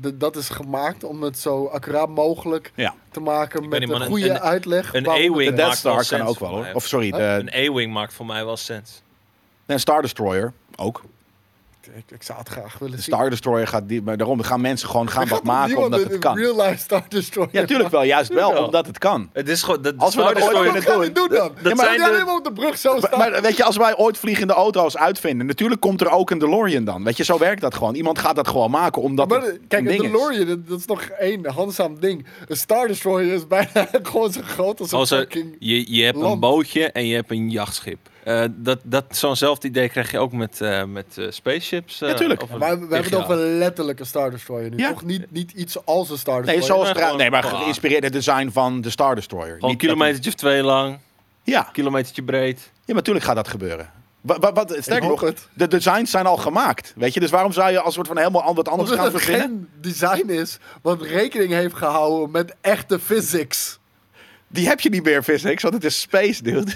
C: D- dat is gemaakt om het zo accuraat mogelijk
B: Ja.
C: te maken met
D: niet,
C: een
D: maar een-
C: goede
D: een-
C: uitleg.
D: een
C: waarom het
D: A-wing.
B: De
C: werkt.
B: Death
D: maakt wel
B: Star kan
D: sens
B: ook wel,
D: voor mij,
B: hoor.
D: hè?
B: Of sorry, de,
D: Een A-wing maakt voor mij wel sens.
B: de Star Destroyer ook.
C: Ik, ik zou het graag willen
B: De
C: zien.
B: Star Destroyer gaat die, maar daarom gaan mensen gewoon gaan wat maken
C: Niemand
B: omdat
C: een-
B: het
C: een
B: kan.
C: Real life Star Destroyer.
B: Ja, tuurlijk wel. Juist wel,
D: Tuurlijk
B: omdat het kan.
D: Het is gewoon dat
B: Als we
D: Star
B: dat ooit
D: Destroyer-
C: Wat
B: kunnen
C: gaan we doen dan?
D: dat
C: Dat
D: zijn
C: zijn
D: de-
C: alleen maar op de brug zo
B: Maar-
C: staan.
B: Maar weet je, als wij ooit vliegende auto's uitvinden, natuurlijk komt er ook een DeLorean dan. Weet je, zo werkt dat gewoon. Iemand gaat dat gewoon maken omdat
C: Maar
B: het
C: de- kijk,
B: een
C: een
B: ding is.
C: DeLorean, dat, dat is nog één handzaam ding. Een Star Destroyer is bijna gewoon zo groot als een
D: Als er-
C: fucking...
D: je, je hebt een
C: land.
D: bootje en je hebt een jachtschip. Eh, dat, dat, Zo'nzelfde idee krijg je ook met, eh, met eh, spaceships. eh,
B: Ja, tuurlijk.
D: over
C: Maar we hebben het
D: 10 jaar.
C: over letterlijk een Star Destroyer nu.
B: Ja.
C: Toch niet, niet iets als een Star Destroyer.
B: Nee, zoals
D: maar
B: tra-
D: gewoon-
B: nee, maar
D: gewoon-
B: geïnspireerd het design van de Star Destroyer.
D: Gewoon een
B: Niet dat
D: kilometertje of twee lang,
B: die- Ja,
D: kilometertje breed.
B: ja, maar natuurlijk gaat dat gebeuren. Wat, wat, wat, sterker nog,
C: hoop het.
B: de designs zijn al gemaakt. Weet je, dus waarom zou je als soort van helemaal al wat anders
C: Omdat
B: gaan
C: het
B: verzinnen?
C: geen design is wat rekening heeft gehouden met echte physics.
B: Die heb je niet meer, physics, want het is space, dude.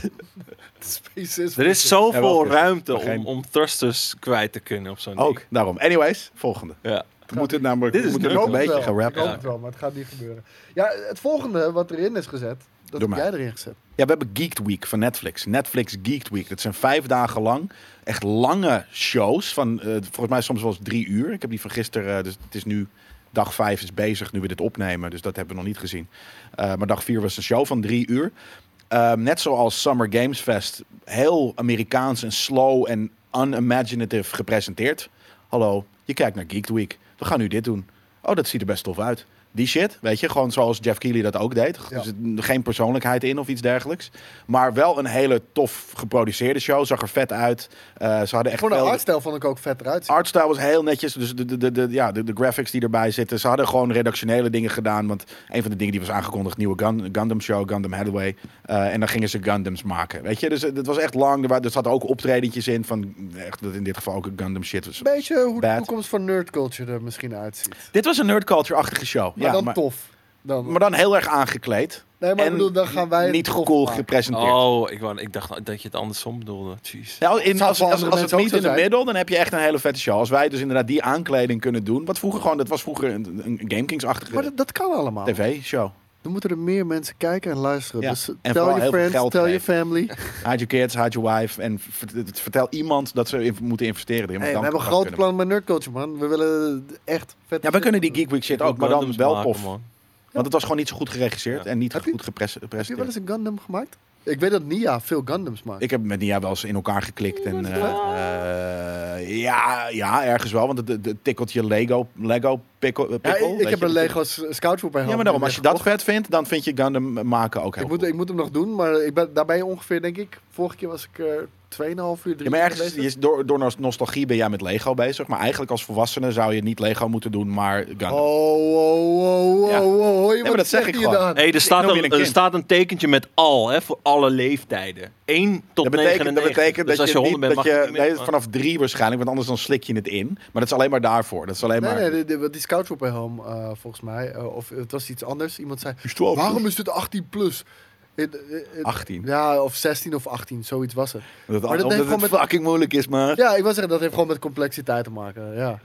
C: Space is
D: Er is
B: Ja, wel
D: zoveel
B: goed.
D: ruimte
B: Maar geen-
D: om, om thrusters kwijt te kunnen op zo'n ding.
B: Ook, daarom. Anyways, volgende.
D: Ja.
B: We moeten namelijk we
D: Dit is
B: moeten
D: leuk
B: het een
D: wel.
B: beetje gaan
D: rap,
C: Ik hoop
D: ja.
C: het wel, maar het gaat niet gebeuren. Ja, het volgende wat erin is gezet,
B: Doe
C: dat heb
B: maar.
C: jij erin gezet.
B: Ja, we hebben Geeked Week van Netflix. Netflix Geeked Week. Dat zijn vijf dagen lang echt lange shows. Van, eh, volgens mij soms wel eens drie uur. Ik heb die van gisteren, eh, dus het is nu dag vijf is bezig nu we dit opnemen. Dus dat hebben we nog niet gezien. Eh, maar dag vier was een show van drie uur. Eh, net zoals Summer Games Fest. Heel Amerikaans en slow en unimaginative gepresenteerd. Hallo, je kijkt naar Geeked Week. We gaan nu dit doen. Oh, dat ziet er best tof uit. Die shit, weet je, gewoon zoals Jeff Keighley dat ook deed.
C: Ja.
B: Er zit geen persoonlijkheid in of iets dergelijks. Maar wel een hele tof geproduceerde show. Zag er vet uit. Eh, ze hadden echt
C: Voor de
B: veel-
C: artstijl vond ik ook vet eruit zien.
B: Artstyle was heel netjes. Dus de, de, de, de- ja, de, de graphics die erbij zitten. Ze hadden gewoon redactionele dingen gedaan. Want een van de dingen die was aangekondigd, nieuwe Gun- Gundam Show, Gundam Hathaway. Eh, en dan gingen ze Gundams maken. Weet je, dus eh, dat was echt lang. Er, wa- er zaten ook optredentjes in van, eh, echt, dat in dit geval ook een Gundam shit was.
C: Een beetje hoe de
B: Bad.
C: toekomst van nerdculture er misschien uitziet.
B: Dit was een nerdculture-achtige show.
C: Maar
B: ja,
C: dan
B: maar,
C: tof. Dan,
B: maar dan heel erg aangekleed.
C: nee, maar ik
B: en
C: bedoel, dan gaan wij het
B: Niet
C: tof
B: cool
C: maken.
B: gepresenteerd.
D: Oh, ik, wou- ik dacht dat je het andersom bedoelde. Jeez.
B: Nou, in,
C: Zou
B: als,
C: voor
B: als,
C: andere
B: als het niet
C: mensen ook
B: in
C: zo
B: de
C: zijn?
B: middel, dan heb je echt een hele vette show. Als wij dus inderdaad die aankleding kunnen doen. Wat vroeger gewoon, dat was vroeger een, een
C: Maar
B: GameKings-achtige
C: dat, dat kan allemaal.
B: tv-show.
C: Dan moeten er meer mensen kijken en luisteren.
B: Ja,
C: Dus
B: en
C: tel
B: vooral
C: je
B: heel veel
C: friends,
B: geld
C: tel je
B: geven.
C: family.
B: Hide your kids, hide your wife. En vert- het- vertel iemand dat ze in- moeten investeren. erin, want
C: Hey, we
B: dan
C: hebben
B: pas
C: grote
B: kunnen we-
C: plannen met nerdculture, man. We willen echt vet.
B: Ja, we kunnen die Geek Week shit ook, maar dan wel tof. Want het was gewoon niet zo goed geregisseerd
D: Ja.
B: en niet
C: Heb je-
B: goed gepres-
C: Heb je wel
B: gepresenteerd.
C: eens een Gundam gemaakt? Ik weet dat Nia veel Gundams maakt.
B: Ik heb met Nia wel eens in elkaar geklikt. En, eh, eh, ja, ja, ergens wel, want het, het- het tikkelt je Lego, Lego pikkel. eh,
C: Ja,
B: pikkel,
C: ik
B: weet
C: ik heb
B: je.
C: een Lego s- Scout Troop bij
B: Ja, maar daarom, als je dat vet vindt, dan vind je Gundam maken ook heel
C: Ik moet,
B: cool.
C: ik moet hem nog doen, maar ik ben, daar ben je ongeveer, denk ik... Vorige keer was ik eh 2,5 uur, 3
B: Ja, maar ergens, je is- door, door nos- nostalgie ben jij met Lego bezig. Maar eigenlijk als volwassene zou je niet Lego moeten doen, maar Gundam.
C: Oh, oh, oh, oh,
B: Ja.
C: oh, oh.
B: maar dat zeg ik gewoon.
D: Hé, hey, er, staat
B: noem je
D: een,
B: een
D: er
B: kind.
D: staat een tekentje met al, hè, voor alle leeftijden. 1
B: Dat
D: tot
B: betekent, dat
D: 99.
B: betekent
D: dus
B: dat
D: als
B: je,
D: je 100
B: niet,
D: bent,
B: dat
D: mag
B: je
D: niet meer,
B: nee,
D: maar-
B: vanaf drie waarschijnlijk, want anders dan slik je het in. Maar dat is alleen maar daarvoor. Dat is alleen maar.
C: Nee, nee, die, die, want die Scout Troop Helm, eh, volgens mij, eh, of het was iets anders. Iemand zei,
B: Is 12
C: waarom is dit 18 plus? Het- het- het-
B: 18.
C: Ja, of 16 of 18, zoiets was het.
B: Dat,
C: maar dat
B: omdat
C: heeft
B: het
C: gewoon met-
B: fucking moeilijk is, maar.
C: Ja, ik wil zeggen, dat heeft gewoon met complexiteit te maken, ja.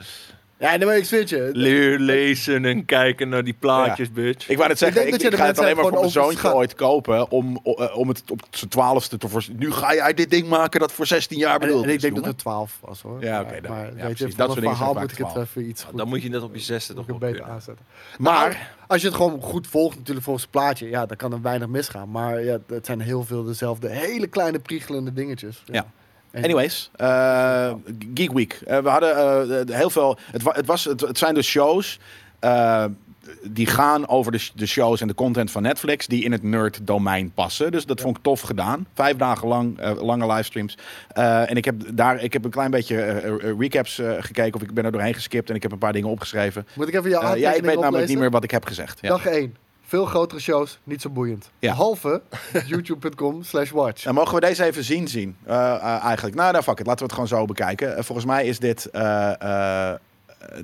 C: Ja, nee, maar ik zweer het je.
D: Leer lezen en kijken naar die plaatjes, bitch.
B: Ik wou net zeggen,
C: denk
B: ik,
C: dat je
B: ik
C: de
B: ga het
C: mensen
B: alleen maar voor mijn
C: gewoon
B: zoontje
C: overschat.
B: ooit kopen. Om, o- eh, om het op zijn twaalfste te voorzien. Nu ga jij dit ding maken dat voor 16 jaar
C: En,
B: bedoeld
C: en ik
B: is.
C: denk dat
B: jongen.
C: het 12 was hoor.
B: Ja, oké,
C: Maar-
B: dan-
C: Maar
B: ja,
C: weet
B: precies.
C: je,
B: Dat soort
C: voor dat
B: dingen zijn
C: verhaal
B: vaak
C: moet ik het
B: 12.
C: even iets goed,
D: dan moet je net op je zesde
C: moet
D: toch
C: ik het
D: wel
C: beter
D: kunnen.
C: aanzetten.
B: maar
C: Als je het gewoon goed volgt natuurlijk volgens het plaatje, ja, dan kan er weinig misgaan. Maar ja, het zijn heel veel dezelfde hele kleine priegelende dingetjes.
B: Ja. Anyways, eh, Geek Week. Eh, we hadden eh, eh, heel veel. Het, wa- het, was, het, het zijn dus shows. eh, die gaan over de, sh- de shows en de content van Netflix. die in het nerd-domein passen. Dus dat vond ik tof gedaan. Vijf dagen lang, eh, lange livestreams. Eh, en ik heb daar ik heb een klein beetje eh, eh, recaps eh, gekeken. of ik ben er doorheen geskipt en ik heb een paar dingen opgeschreven.
C: Moet ik even jouw
B: Eh,
C: aantekening
B: ja, ik weet namelijk niet
C: oplezen?
B: meer wat ik heb gezegd. Ja.
C: Dag 1. Veel grotere shows, niet zo boeiend.
B: Ja.
C: Behalve youtube.com slash watch.
B: En mogen we deze even zien zien? Eh, eh, eigenlijk. Nou, nou, fuck it. Laten we het gewoon zo bekijken. Eh, volgens mij is dit eh, eh,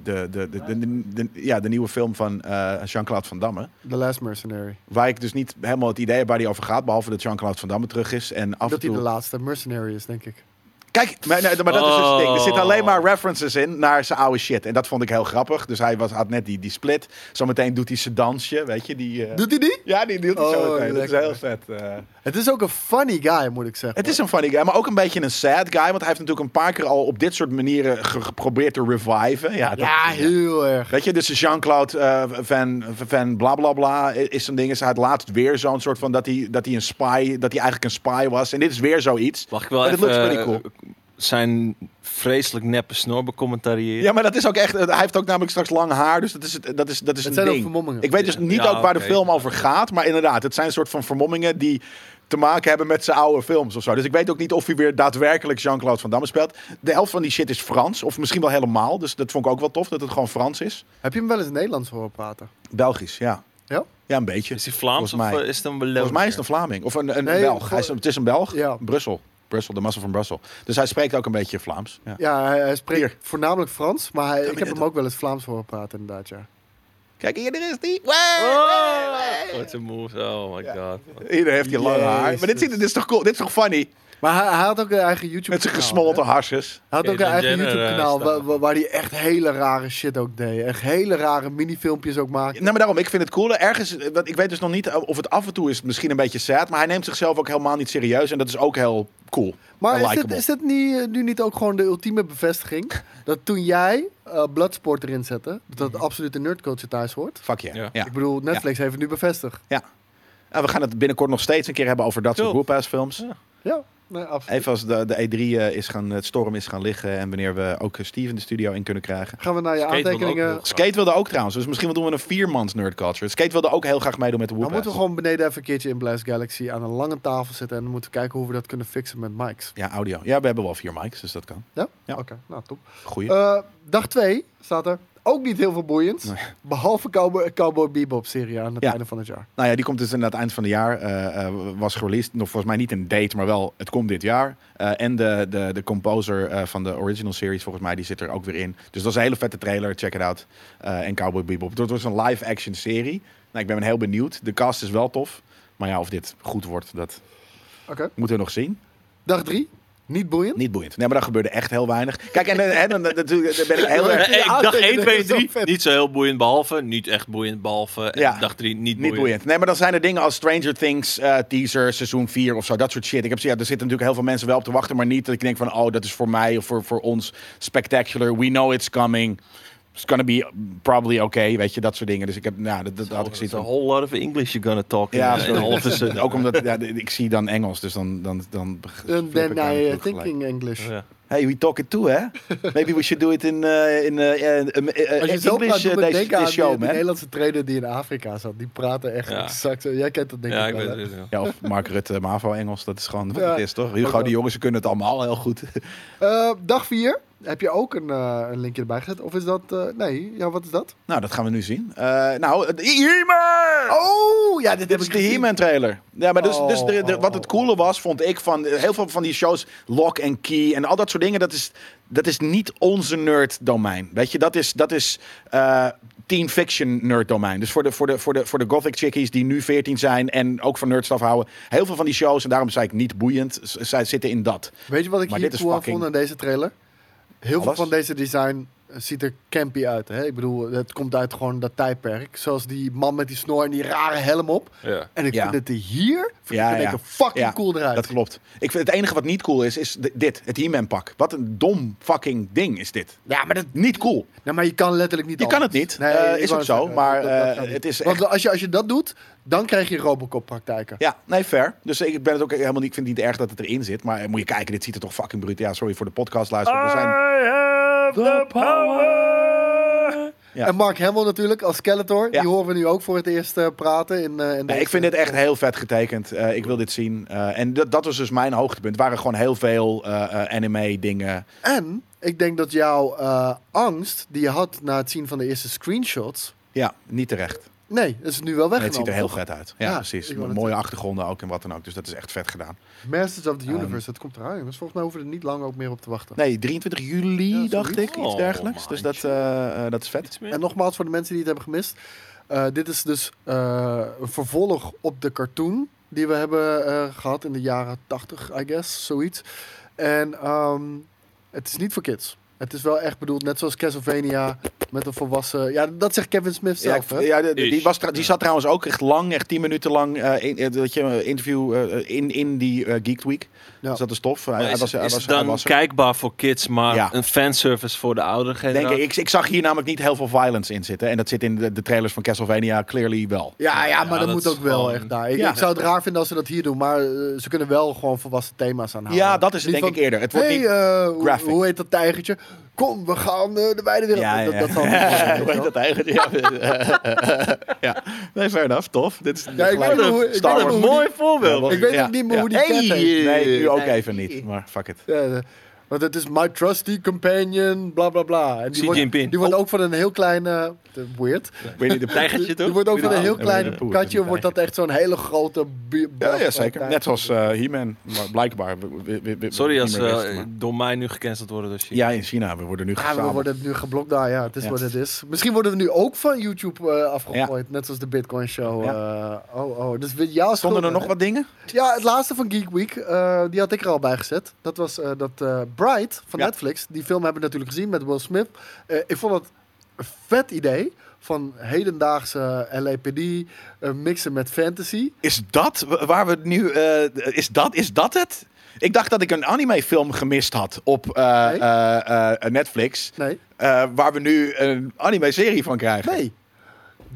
B: de, de, de, de, de- de- ja, de nieuwe film van eh, Jean-Claude Van Damme.
C: The Last Mercenary.
B: Waar ik dus niet helemaal het idee heb waar die over gaat. Behalve dat Jean-Claude Van Damme terug is. En af en
C: Dat hij de
B: toe...
C: laatste mercenary is, denk ik.
B: Kijk, maar, nee, maar dat is dus het ding. Er zitten
D: Oh.
B: alleen maar references in naar zijn oude shit. En dat vond ik heel grappig. Dus hij was, had net die, die split. Zometeen doet hij zijn dansje, weet je. Die, eh,
C: Doet hij die?
B: Ja, die, die doet hij
C: Oh,
B: zo meteen. Dat is
C: lekker.
B: heel vet. eh.
C: Het is ook een funny guy, moet ik zeggen.
B: Het is een funny guy, maar ook een beetje een sad guy. Want hij heeft natuurlijk een paar keer al op dit soort manieren ge- geprobeerd te reviven. Ja, dat-
C: ja, heel erg.
B: Weet je, dus Jean-Claude eh, van, van bla bla bla is zo'n ding. Is hij had laatst weer zo'n soort van dat hij, dat hij een spy, dat hij eigenlijk een spy was. En dit is weer zoiets.
D: Mag ik wel
B: Maar dit
D: even
B: looks pretty cool.
D: eh, zijn vreselijk neppe snor becommentariëren?
B: Ja, maar dat is ook echt. eh, Hij heeft ook namelijk straks lang haar, dus dat is, het- dat is, dat is
C: Het
B: een
C: zijn ook
B: ding.
C: vermommingen.
B: Ik weet dus niet
D: Ja,
B: ook waar de
D: oké.
B: film over gaat, maar inderdaad, het zijn een soort van vermommingen die te maken hebben met zijn oude films of zo. Dus ik weet ook niet of hij weer daadwerkelijk Jean-Claude Van Damme speelt. De helft van die shit is Frans, of misschien wel helemaal. Dus dat vond ik ook wel tof dat het gewoon Frans is.
C: Heb je hem wel eens Nederlands horen praten?
B: Belgisch, ja.
C: Ja?
B: Ja, een beetje.
D: Is hij Vlaams
B: Volgens
D: of
B: mij.
D: eh, is het een beloning?
B: Volgens mij is het een Vlaming of een, een
C: Nee,
B: Belg.
C: voor-
B: Hij is, een- het is een Belg.
C: Ja.
B: Brussel. Brussel, de massa van Brussel. Dus hij spreekt ook een beetje Vlaams. Ja.
C: Ja, hij, hij spreekt
B: Hier.
C: voornamelijk Frans, maar hij, ik
B: maar
C: heb
B: dit-
C: hem ook wel eens Vlaams horen praten, inderdaad, ja.
B: Kijk, hier er is die.
D: Oh, wat een moves. Oh my god.
B: Iedereen heeft die lange haar. Maar dit,
C: Jezus.
B: ziet, er- dit is toch cool? Dit is toch funny?
C: Maar hij, hij had ook een eigen
B: Met zijn
C: YouTube-kanaal. Nou, hè?
B: gesmolten harses.
C: Hij had ook een
D: Caitlyn
C: eigen
D: Jenner, eh,
C: YouTube-kanaal
D: staan.
C: wa- wa- waar hij echt hele rare shit ook deed. Echt hele rare minifilmpjes ook maakte.
B: Nou, maar daarom, ik vind het cool. Ergens, eh, want ik weet dus nog niet eh, of het af en toe is misschien een beetje sad, maar hij neemt zichzelf ook helemaal niet serieus en dat is ook heel cool.
C: Maar
B: En
C: is dit,
B: likable.
C: is dit niet, eh, nu niet ook gewoon de ultieme bevestiging? dat toen jij eh, Bloodsport erin zette, dat dat absoluut de nerdculture thuis hoort?
B: Fuck yeah.
D: Ja.
B: Mhm. ja.
C: Ik bedoel, Netflix heeft het nu bevestigd.
B: En we gaan het binnenkort nog steeds een keer hebben over dat soort
D: Cool.
B: groephuisfilms.
C: Ja, nee, absoluut.
B: Even als de, de E3 eh, is gaan, het storm is gaan liggen en wanneer we ook eh, Steve in de studio in kunnen krijgen.
C: Gaan we naar je
D: Skate wilde ook
C: aantekeningen.
D: nog.
B: Skate wilde ook trouwens, dus misschien doen we een viermans nerdculture. Skate wilde ook heel graag meedoen met de
C: Dan moeten
B: Whoop.
C: we gewoon beneden even een keertje in Blast Galaxy aan een lange tafel zitten. En dan moeten we kijken hoe we dat kunnen fixen met mics.
B: Ja, audio. Ja, we hebben wel vier mics, dus dat kan.
C: Ja?
B: Ja.
C: Oké, nou top.
B: Goeie.
C: Eh, dag 2 staat er ook niet heel veel boeiends.
B: Nee.
C: Behalve Cowboy, Cowboy Bebop-serie aan het
B: Ja.
C: einde van het jaar.
B: Nou ja, die komt dus aan het eind van het jaar. eh, eh, was gereleased. Nog volgens mij niet een date, maar wel het komt dit jaar. Eh, en de, de, de composer eh, van de original series, volgens mij, die zit er ook weer in. Dus dat is een hele vette trailer. Check it out. Eh, en Cowboy Bebop. Het wordt een live-action serie. Nou, ik ben heel benieuwd. De cast is wel tof. Maar ja, of dit goed wordt, dat
C: Oké.
B: moeten we nog zien.
C: Dag 3, niet boeiend.
B: Niet boeiend. Nee, maar daar gebeurde echt heel weinig. Kijk, en, en, en, dan- natuurlijk, daar ben ik heel erg...
D: Nee, dag
C: aantekeningen
D: 1, 2,
C: is zo
D: 3.
C: vet.
D: Niet zo heel boeiend behalve. Niet echt boeiend behalve. En
B: Ja.
D: dag 3 niet,
B: Niet boeiend.
D: boeiend.
B: Nee, maar dan zijn er dingen als Stranger Things, eh, teaser, seizoen 4 of zo. Dat soort shit. Ik heb, ze- ja, er zitten natuurlijk heel veel mensen wel op te wachten. Maar niet dat ik denk van, oh, dat is voor mij of voor, voor ons spectacular. We know it's coming. It's gonna be probably okay. Weet je, dat soort dingen. Dus ik heb, nou, dat, dat had ik
D: It's
B: zoiets
D: a
B: van.
D: whole lot of English you're gonna talk.
B: Ja,
D: in, in
B: sorry.
D: all of a sudden.
B: Ook omdat ja, ik zie dan Engels, dus dan. dan, dan
C: Then,
B: flip
C: then
B: ik
C: I,
B: aan
C: eh,
B: natuurlijk gelijk.
C: thinking English.
D: Oh Ja.
B: Hey, we talk it too, hè? Maybe we should do it in, eh, in eh, eh, eh, eh,
C: Als je zo
B: English
C: praat,
B: eh,
C: doet me
B: deze
C: denken aan
B: deze
C: die,
B: show,
C: die
B: man.
C: Nederlandse trainer die in Afrika zat. Die praten echt
D: Ja.
C: exact zo. Jij kent dat denk
D: Ja,
C: ik
D: ik
C: wel.
D: weet
C: hè?
D: het. ja.
B: Ja, of Mark Rutte, Mavo Engels, dat is gewoon wat
C: Ja.
B: het is, toch?
C: Ook
B: Hugo,
C: wel.
B: die jongens ze kunnen het allemaal heel goed.
C: Eh, dag 4, heb je ook een, eh, een linkje erbij gezet? Of is dat... eh, nee, ja, wat is dat?
B: Nou, dat gaan we nu zien. Eh, nou, de He-Man!
C: Oh, ja, dit
B: Dit
C: heb
B: is
C: ik
B: de
C: gezien.
B: He-Man trailer. Ja, maar dus, dus de- de-
C: Oh.
B: wat het coole was, vond ik, van eh, heel veel van die shows, Lock and Key en al dat soort dingen, dat is, dat is niet onze nerd domein. Weet je, dat is, dat is eh, teen fiction nerd domein. Dus voor de, voor, de, voor, de, voor de gothic chickies die nu 14 zijn en ook van nerdstaf houden, heel veel van die shows, en daarom zei ik niet boeiend, z- zij zitten in dat.
C: Weet je wat ik
B: Maar
C: hier
B: dit is
C: cool aan
B: fucking-
C: vond aan deze trailer? Heel veel
B: Alles?
C: van deze design eh, ziet er campy uit. Hè? Ik bedoel, het komt uit gewoon dat tijdperk. Zoals die man met die snor en die rare helm op. En ik
B: Ja.
C: vind het er hier vind
B: Ja,
C: ik er
B: ja.
C: denk ik fucking
B: Ja,
C: cool eruit.
B: Dat klopt. Ik vind het enige wat niet cool is, is di- dit. Het He-Man pak. Wat een dom fucking ding is dit.
C: Ja, maar, dat,
B: Niet cool.
C: nou, maar je kan letterlijk niet
B: Je kan
C: anders.
B: het niet.
C: Nee,
B: Eh,
C: ik
B: is
C: wou
B: ook zo.
C: het zeggen.
B: Maar
C: Dat- dat
B: eh,
C: kan niet.
B: het is echt...
C: Want als je, als je dat doet, dan krijg je Robocop-praktijken.
B: Ja, nee, fair. Dus ik ben het ook helemaal niet. Ik vind het niet erg dat het erin zit. Maar eh, moet je kijken, dit ziet er toch fucking bruut. Ja, sorry voor de podcast luisteren. Zijn... Ja.
C: En Mark Hamill natuurlijk als Skeletor.
B: Ja.
C: Die horen we nu ook voor het eerst eh, praten. In, eh, in
B: Nee, ik
C: deze-
B: vind dit echt heel vet getekend. Eh, ik wil dit zien. Eh, en dat, dat was dus mijn hoogtepunt. Het waren gewoon heel veel eh, eh, anime dingen.
C: En ik denk dat jouw eh, angst die je had na het zien van de eerste screenshots...
B: Ja, niet terecht.
C: Nee, dat is nu wel
B: Nee,
C: weggenomen.
B: het ziet er heel
C: toch?
B: vet uit. Ja,
C: Ja,
B: precies.
C: ik wou
B: Met
C: net
B: Mooie achtergronden ook en wat dan ook. Dus dat is echt vet gedaan.
C: Masters
B: Ehm.
C: of the Universe, dat komt eraan. jongens. volgens mij hoeven we er niet lang ook meer op te wachten.
B: Nee, 23 juli
C: Ja,
B: dacht
C: zoiets.
B: ik. Iets
D: Oh,
B: dergelijks.
D: man,
B: dus dat,
D: shit.
B: eh, eh, dat is vet.
D: Iets meer?
C: En nogmaals voor de mensen die het hebben gemist. eh, dit is dus eh, een vervolg op de cartoon die we hebben eh, gehad in de jaren 80, I guess, zoiets. En ehm, het is niet voor kids. Het is wel echt bedoeld, net zoals Castlevania, met een volwassen... Ja, dat zegt Kevin Smith
B: Ja,
C: zelf,
B: ik-
C: hè?
B: ja, de- de- die,
D: Is.
B: was, tra- die zat trouwens ook echt lang, echt tien minuten lang, eh, in, eh, dat je een interview eh, in, in die eh, Geek Week.
C: Ja.
B: Dus dat is tof. Hij,
D: Maar
B: hij
D: is
B: was,
D: het-
B: hij
D: is
B: was,
D: het
B: hij
D: dan
B: was er.
D: kijkbaar voor kids, maar
B: Ja.
D: een fanservice voor de oudere
B: Denk ik,
D: generatie?
B: ik, ik zag hier namelijk niet heel veel violence in zitten. En dat zit in de, de trailers van Castlevania clearly wel.
C: Ja, ja,
D: Ja,
C: maar dat,
D: dat
C: moet
D: is
C: ook wel
D: gewoon-
C: echt daar. Ik,
B: Ja.
C: ik zou het raar vinden als ze dat hier doen, maar eh, ze kunnen wel gewoon volwassen thema's aanhouden.
B: Ja, dat is het
C: Niet
B: denk ik
C: van,
B: eerder. Het wordt
C: hey,
B: niet...
C: eh, hoe,
B: graphic.
C: hoe heet dat tijgertje? Kom, we gaan eh, de wijde wereld.
B: Ja,
C: in.
B: ja,
C: Dat,
B: ja.
C: dat zal niet zijn,
B: Hoe
C: weet
B: heet
C: je wel.
B: dat eigenlijk? Ja. ja. Nee, fair enough. Tof. Dit is
C: Ja, ik weet
B: gelijk-
C: nog hoe- ik
B: Star
C: weet nog
B: Wars.
C: hoe
D: Mooi voorbeeld.
B: Ja,
C: Ik weet
B: ja,
C: ook niet meer
B: ja.
C: hoe die cat heet.
B: Nee, nu ook even niet. Maar fuck it.
C: Ja, ja. Eh, Want het is my trusty companion, bla bla bla. En
D: Xi
C: wordt,
D: Jinping.
C: die wordt
B: Oh.
C: ook van een heel klein. eh, weird.
B: Weet je, de
D: Tijgertje toch?
C: Die wordt ook van een heel
B: Ja,
C: klein
B: en een poer,
C: katje.
B: een
C: Wordt dat echt zo'n hele grote. bi-
B: Ja, ja,
C: tijger.
B: zeker. Net als eh He-Man, maar blijkbaar. we- we- we- we-
D: Sorry
B: niet
D: als
B: meer
D: eh,
B: wisten, maar-
D: door mij nu gecanceld worden door China.
B: Ja, in China. Ah, We worden nu
C: Ja,
B: gezameld.
C: we worden nu geblokt daar. Ja, het is
B: Ja.
C: wat het is. Misschien worden we nu ook van YouTube eh, afgegooid. Net zoals de Bitcoin Show. eh, oh, oh. Dus we- jouw schuld,
B: Stonden er
C: hè?
B: nog wat dingen?
C: Ja, het laatste van Geek Week, eh, die had ik er al bij gezet. Dat was eh, dat eh, Bright van
B: Ja.
C: Netflix. Die film hebben we natuurlijk gezien met Will Smith. Eh, ik vond het een vet idee van hedendaagse LAPD eh, mixen met fantasy.
B: Is dat wa- waar we nu... eh, is, dat, is dat het? Ik dacht dat ik een animefilm gemist had op eh,
C: Nee.
B: eh, eh, Netflix.
C: Nee,
B: eh, waar we nu een anime-serie van krijgen.
C: nee.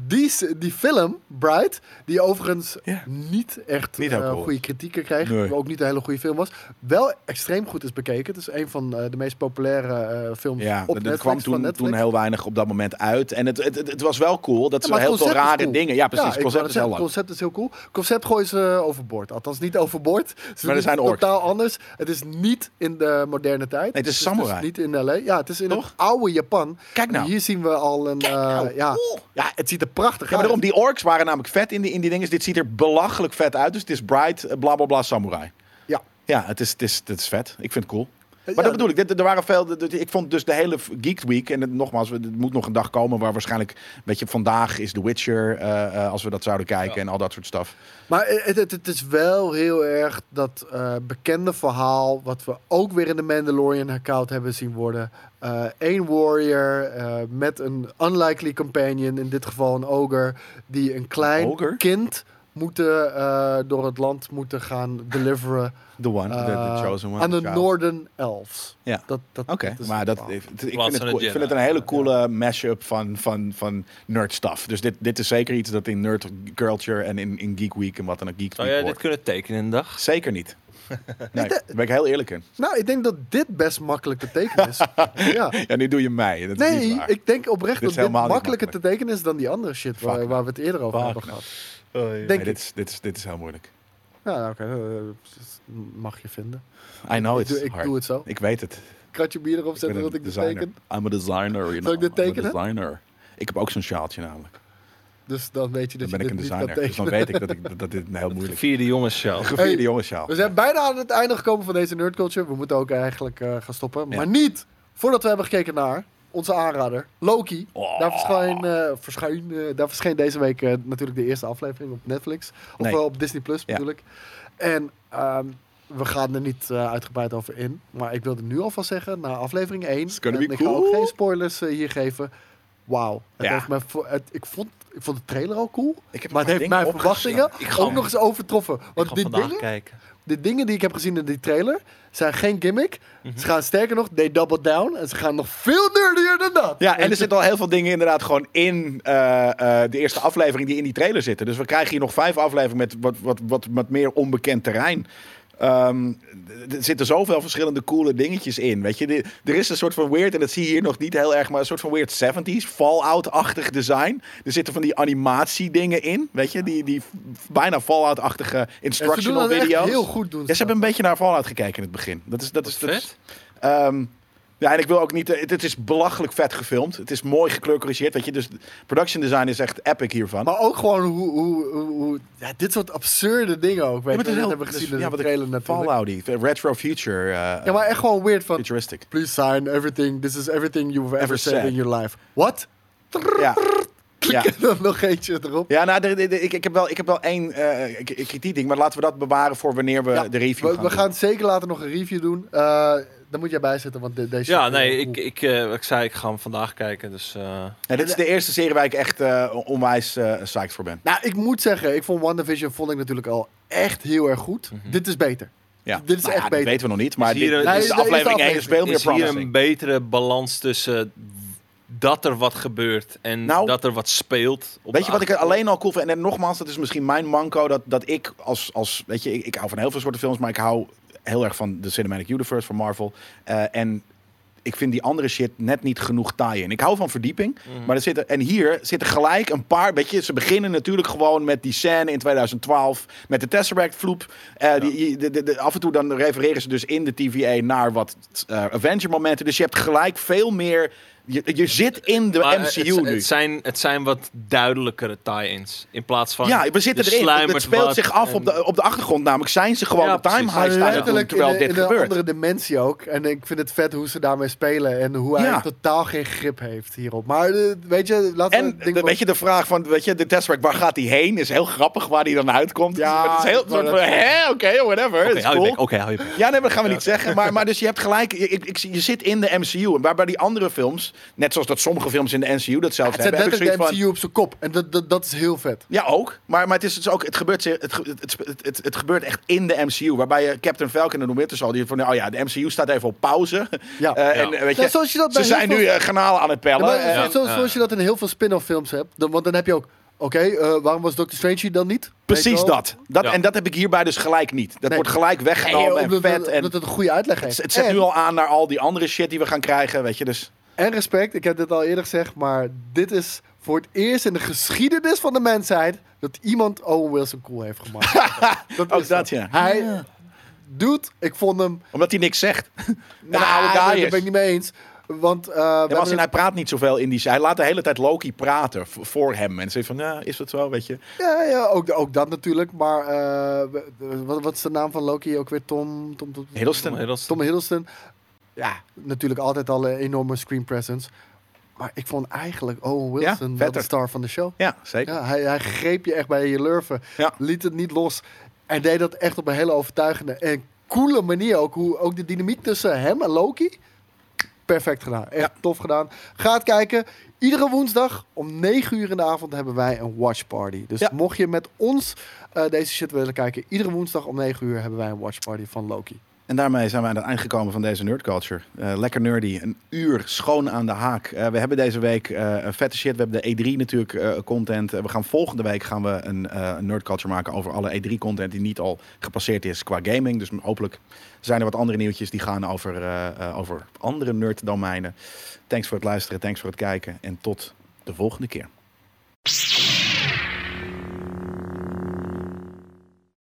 C: Die, s- die film, Bright, die overigens
B: Ja.
C: niet echt
B: Niet heel
C: eh,
B: cool.
C: goede kritieken kreeg.
B: Nee.
C: maar Ook niet een hele goede film was. Wel extreem goed is bekeken. Het is een van eh, de meest populaire eh, films
B: Ja,
C: op
B: dat
C: Netflix.
B: kwam
C: van
B: toen,
C: Netflix.
B: toen heel weinig op dat moment uit. En het, het, het, het was wel cool dat
C: Ja,
B: ze
C: maar
B: heel
C: het
B: veel
C: concept is
B: rare
C: cool.
B: dingen... Ja, precies.
C: Ja, ik wou
B: concept
C: net
B: is heel
C: zeggen,
B: lang.
C: concept is heel cool. Concept gooien ze eh, overboord. Althans, niet overboord. Ze doen
B: er
C: iets
B: zijn orks.
C: totaal anders. Het is niet in de moderne tijd.
B: het is
C: Dus
B: samurai.
C: Het is niet in LA. Ja, het is in
B: Toch?
C: het oude Japan.
B: Kijk nou.
C: En Hier zien we al een. eh,
B: nou,
C: ja,
B: cool.
C: ja, het ziet er prachtig
B: Ja, maar
C: uit.
B: daarom, die orks waren namelijk vet in die, in die dingen. Dus Dit ziet er belachelijk vet uit. Dus het is bright, eh, bla bla bla, samurai.
C: Ja.
B: Ja, het is, het is, het is vet. Ik vind het cool. Maar
C: ja,
B: dat bedoel ik. Dit, er waren veel, dit- ik vond dus de hele Geek Week. En het, nogmaals, we- er moet nog een dag komen waar waarschijnlijk. Weet je, vandaag is The Witcher. eh, eh, als we dat zouden kijken
D: Ja.
B: en al dat soort stuff.
C: Maar het, het, het is wel heel erg dat eh, bekende verhaal, wat we ook weer in de Mandalorian herkaald hebben zien worden. Eén warrior eh, met een unlikely companion, in dit geval een ogre, die een klein
B: ogre?
C: kind moeten, eh, door het land moeten gaan deliveren
B: The One, the,
C: eh,
B: the Chosen One.
C: aan de
B: Child.
C: Northern Elves.
B: Ja.
C: Dat, dat,
B: Oké,
C: dat is
B: maar
C: het
B: dat,
C: verhaal.
B: ik, vind
D: Plaats
B: het
D: van
B: cool.
D: de
B: ik vind het een
D: Jedi.
B: hele coole mashup van, van, van nerd stuff. Dus dit, dit is zeker iets dat in nerd culture en in, in Geek Week en wat dan ook Geek
D: Zou
B: Week
D: jij
B: hoort.
D: Oh dit kunnen tekenen in een dag?
B: Zeker niet. Nee, daar ben ik heel eerlijk in.
C: Nou, ik denk dat dit best makkelijk te tekenen is. ja.
B: Ja, nu doe je mij. Dat is niet
C: Nee,
B: waar.
C: ik denk
B: Dit
C: oprecht dat
B: is
C: dit
B: helemaal niet
C: makkelijker te tekenen is dan die andere shit
B: Fuck.
C: waar, waar we het eerder over
B: Fuck.
C: hebben gehad.
D: Oh,
C: Denk
B: Nee,
C: ik.
B: dit, is, dit, is, dit is heel moeilijk.
C: Ja, oké. eh, dat mag je vinden.
B: I know
C: ik
B: it's
C: doe, ik
B: hard.
C: doe het zo.
B: Ik weet het.
C: Kratje bier erop
B: ben
C: zetten
B: een
C: dat ik dit
B: designer.
C: teken.
B: I'm a designer. You
C: Zal ik
B: know.
C: dit
B: I'm a
C: tekenen?
B: designer. Ik heb ook zo'n sjaaltje namelijk.
C: Dus dan weet je
B: Dan
C: dat
B: ben
C: je
B: ik
C: dit
B: een
C: niet kan
B: designer. Dus dan
C: tekenen.
B: weet ik dat, ik, dat- dat dit een heel moeilijk is.
D: Vierde jongens show.
B: Gevierde
C: Hey,
B: jongenssjaal.
C: We zijn bijna aan het einde gekomen van deze nerdculture. We moeten ook eigenlijk eh, gaan stoppen.
B: Ja.
C: Maar niet voordat we hebben gekeken naar onze aanrader, Loki.
B: Oh.
C: Daar, verscheen, eh, verscheen, eh, daar verscheen deze week eh, natuurlijk de eerste aflevering op Netflix. Of
B: Nee.
C: wel op Disney Plus
B: Ja.
C: bedoel ik. En ehm, we gaan er niet eh, uitgebreid over in. Maar ik wilde nu alvast zeggen, na aflevering 1...
B: It's gonna
C: en
B: be
C: ik ga ook
B: cool.
C: geen spoilers eh, hier geven. Wauw. Het
B: Ja.
C: heeft me vo- het- Ik vond... Ik vond de trailer al cool,
B: Ik heb
C: maar het heeft
B: dingen
C: mijn
B: opgeschreven.
C: verwachtingen
B: Ik ga
C: ook
B: hem-
C: nog eens overtroffen.
D: Ik
C: Want
D: ga
C: die
D: vandaag
C: dingen,
D: kijken.
C: de dingen die ik heb gezien in die trailer zijn geen gimmick. Ze gaan sterker nog, they double down. En ze gaan nog veel nerdier dan dat.
B: Ja, en er
C: Weet je?
B: zitten al heel veel dingen inderdaad gewoon in eh, eh, de eerste aflevering die in die trailer zitten. Dus we krijgen hier nog vijf afleveringen met wat, wat, wat, wat meer onbekend terrein. Ehm, d- er zitten zoveel verschillende coole dingetjes in. Weet je, De- er is een soort van weird, en dat zie je hier nog niet heel erg, maar een soort van weird 70s, Fallout-achtig design. Er zitten van die animatiedingen in, weet je, die, die f- bijna Fallout-achtige
C: En ze doen
B: instructional
C: dat echt
B: video's.
C: heel goed doen.
B: Ja, ze hebben een beetje naar Fallout gekeken in het begin. Dat is, dat
D: Dat
B: is,
D: is
B: dat is-
D: vet.
B: Ehm, ja, en ik wil ook niet. eh, Het, het is belachelijk vet gefilmd. Het is mooi gekleurcorrigeerd. Weet je, dus production design is echt epic hiervan.
C: Maar ook gewoon hoe... hoe, hoe, hoe- ja, dit soort absurde dingen
B: Ja,
C: ook. Weet
B: maar het
C: je.
B: is
C: Dat
B: heel-
C: hebben we
B: dus-
C: gezien in
B: ja,
C: de
B: wat ik-
C: trailer natuurlijk.
B: Fallout, die retro future. eh,
C: Ja, maar echt gewoon weird van...
B: futuristic.
C: Please sign everything. This is everything you've ever,
B: Ever
C: said,
B: said.
C: in your life. What?
B: Ja. Ja.
C: En dan nog eentje erop.
B: Ja, nou, de- de- de- ik, ik heb wel, ik heb wel één eh, k- kritiek, maar laten we dat bewaren voor wanneer we
C: Ja,
B: de review
C: We,
B: gaan
C: we
B: doen.
C: gaan zeker later nog een review doen. Eh dan moet jij bijzetten, want de- deze...
D: Ja,
C: shit, eh,
D: nee,
C: hoe-
D: ik, ik, eh, ik zei ik ga hem vandaag kijken, dus... eh,
B: Ja, dit is de eerste serie waar ik echt eh, onwijs eh psyched voor ben.
C: Nou, ik moet zeggen, ik vond WandaVision vond ik natuurlijk al echt heel erg goed.
B: Mhm.
C: Dit is beter.
B: Ja.
C: Dit is
B: Nou
C: echt
B: ja,
C: beter.
B: Dat weten we nog niet, maar
D: Is hier
B: dit-
D: een-
B: dit
D: Nee,
B: is de
C: dit is de
B: aflevering 1 is
C: aflevering.
B: veel meer
D: is hier
B: promising.
D: een betere balans tussen dat er wat gebeurt en
B: Nou,
D: dat er wat speelt. op
B: Weet
D: de
B: je wat ik er
D: achtergrond?
B: alleen al cool vind? En nogmaals, dat is misschien mijn manco. Dat, dat ik als, als. Weet je, ik, ik hou van heel veel soorten films. Maar ik hou heel erg van de Cinematic Universe van Marvel. Eh, en ik vind die andere shit net niet genoeg taai in. Ik hou van verdieping,
D: Mhm.
B: maar er zitten, en hier zitten gelijk een paar, weet je, ze beginnen natuurlijk gewoon met die scène in 2012 met de Tesseract vloep. Eh, die, de, de, de- af en toe dan refereren ze dus in de TVA naar wat eh, Avenger momenten. Dus je hebt gelijk veel meer, je, je zit in de
D: Maar eh,
B: MCU
D: het,
B: nu.
D: Het zijn, het zijn wat duidelijkere tie-ins. In plaats van.
B: ja, we zitten
D: de
B: erin.
D: sluimert
B: Het speelt
D: wat
B: zich af
D: en-
B: op de, op de achtergrond. Namelijk zijn ze gewoon
D: Ja,
B: de time
D: precies.
B: high staan te doen
C: Letterlijk
B: terwijl
C: in, de-
B: dit
C: in de
B: gebeurt.
C: andere dimensie ook. En ik vind het vet hoe ze daarmee spelen. En hoe hij
B: Ja.
C: totaal geen grip heeft hierop. Maar eh, weet je, laten we...
B: En
C: het ding
B: de-
C: wel-
B: weet je, de vraag van, weet je, de Tesseract, waar gaat hij heen? Is heel grappig waar hij dan uitkomt.
C: Ja,
B: het is heel
C: ik wou
B: soort van,
C: dat
B: hè, oké, whatever.
D: Oké,
B: is
D: hou je
B: cool.
D: bek. Oké, hou je bek.
B: Ja, nee, maar dat gaan we niet zeggen. Maar, maar dus je hebt gelijk, je, ik, ik, zie- je zit in de MCU. En waar bij die andere films, net zoals dat sommige films in de MCU dat zelfs
C: Het zet
B: hebben, heb ik
C: letterlijk de
B: zoiets
C: MCU
B: van...
C: op zijn kop. En dat, dat, dat is heel vet.
B: Ja, ook. Maar, maar het, is, het, is ook, het, gebeurt, zeer- het, ge- het, spe- het, het, het gebeurt echt in de MCU. Waarbij je Captain Falcon en de Winter Soldier... die van, oh ja, de MCU staat even op pauze.
C: Ja.
B: Eh, en,
D: Ja.
B: eh, weet
C: Ja,
B: je,
C: zoals je dat
B: ze
C: bij heel
B: zijn
C: veel-
B: nu eh, granalen aan het pellen.
C: Ja, maar,
B: Eh,
C: zo- zo-
D: ja.
C: Zoals je dat in heel veel spin-off films hebt. Dan, want dan heb je ook... Oké, eh, waarom was Doctor Strange hier dan niet? Weet
B: Precies
C: je wel?
B: dat. dat
D: Ja.
B: En dat heb ik hierbij dus gelijk niet. Dat
C: Nee.
B: wordt gelijk weggenomen
C: Nee,
B: en
C: omdat,
B: vet. En
C: omdat het een goede uitleg heeft.
B: het zet
C: En-
B: nu al aan naar al die andere shit die we gaan krijgen. Weet je, dus
C: En respect, ik heb dit al eerder gezegd, maar dit is voor het eerst in de geschiedenis van de mensheid dat iemand Owen Wilson cool heeft gemaakt. dat
B: Ook
C: is
B: dat,
C: zo.
B: ja.
C: Hij, dude, ik vond hem.
B: omdat hij niks zegt.
C: Nou,
B: een oude guy
C: daar
B: is.
C: ben ik niet mee eens. Want eh, we
B: Ja, maar als
C: hebben-
B: in, hij praat niet zoveel in die. Hij laat de hele tijd Loki praten v- voor hem. En ze is van, nou, is dat zo, weet je?
C: ja, ja, ook, ook dat natuurlijk. Maar eh, we- we- wat, wat is de naam van Loki ook weer? Tom, Tom, Tom,
B: Hiddleston.
C: Tom Hiddleston. Ja, natuurlijk altijd al een enorme screen presence. Maar ik vond eigenlijk Owen
B: Ja,
C: Wilson wel de
B: vetter.
C: star van de show.
B: Ja, zeker.
C: Ja, hij, hij greep je echt bij je lurven.
B: Ja.
C: Liet het niet los. En deed dat echt op een hele overtuigende en coole manier ook. Hoe ook de dynamiek tussen hem en Loki. Perfect gedaan. Echt tof gedaan. Ga het kijken. Iedere woensdag om 9 uur in de avond hebben wij een watch party. Dus
B: Ja.
C: mocht je met ons eh, deze shit willen kijken, iedere woensdag om 9 uur hebben wij een watch party van Loki.
B: En daarmee zijn we aan het eind gekomen van deze nerdculture. Eh lekker nerdy, een uur schoon aan de haak. Eh, we hebben deze week eh, een vette shit. We hebben de E3 natuurlijk eh, content. Eh, we gaan volgende week gaan we een eh, een nerdculture maken over alle E3 content die niet al gepasseerd is qua gaming. Dus hopelijk zijn er wat andere nieuwtjes die gaan over, eh, eh, over andere nerddomeinen. Thanks voor het luisteren, thanks voor het kijken en tot de volgende keer.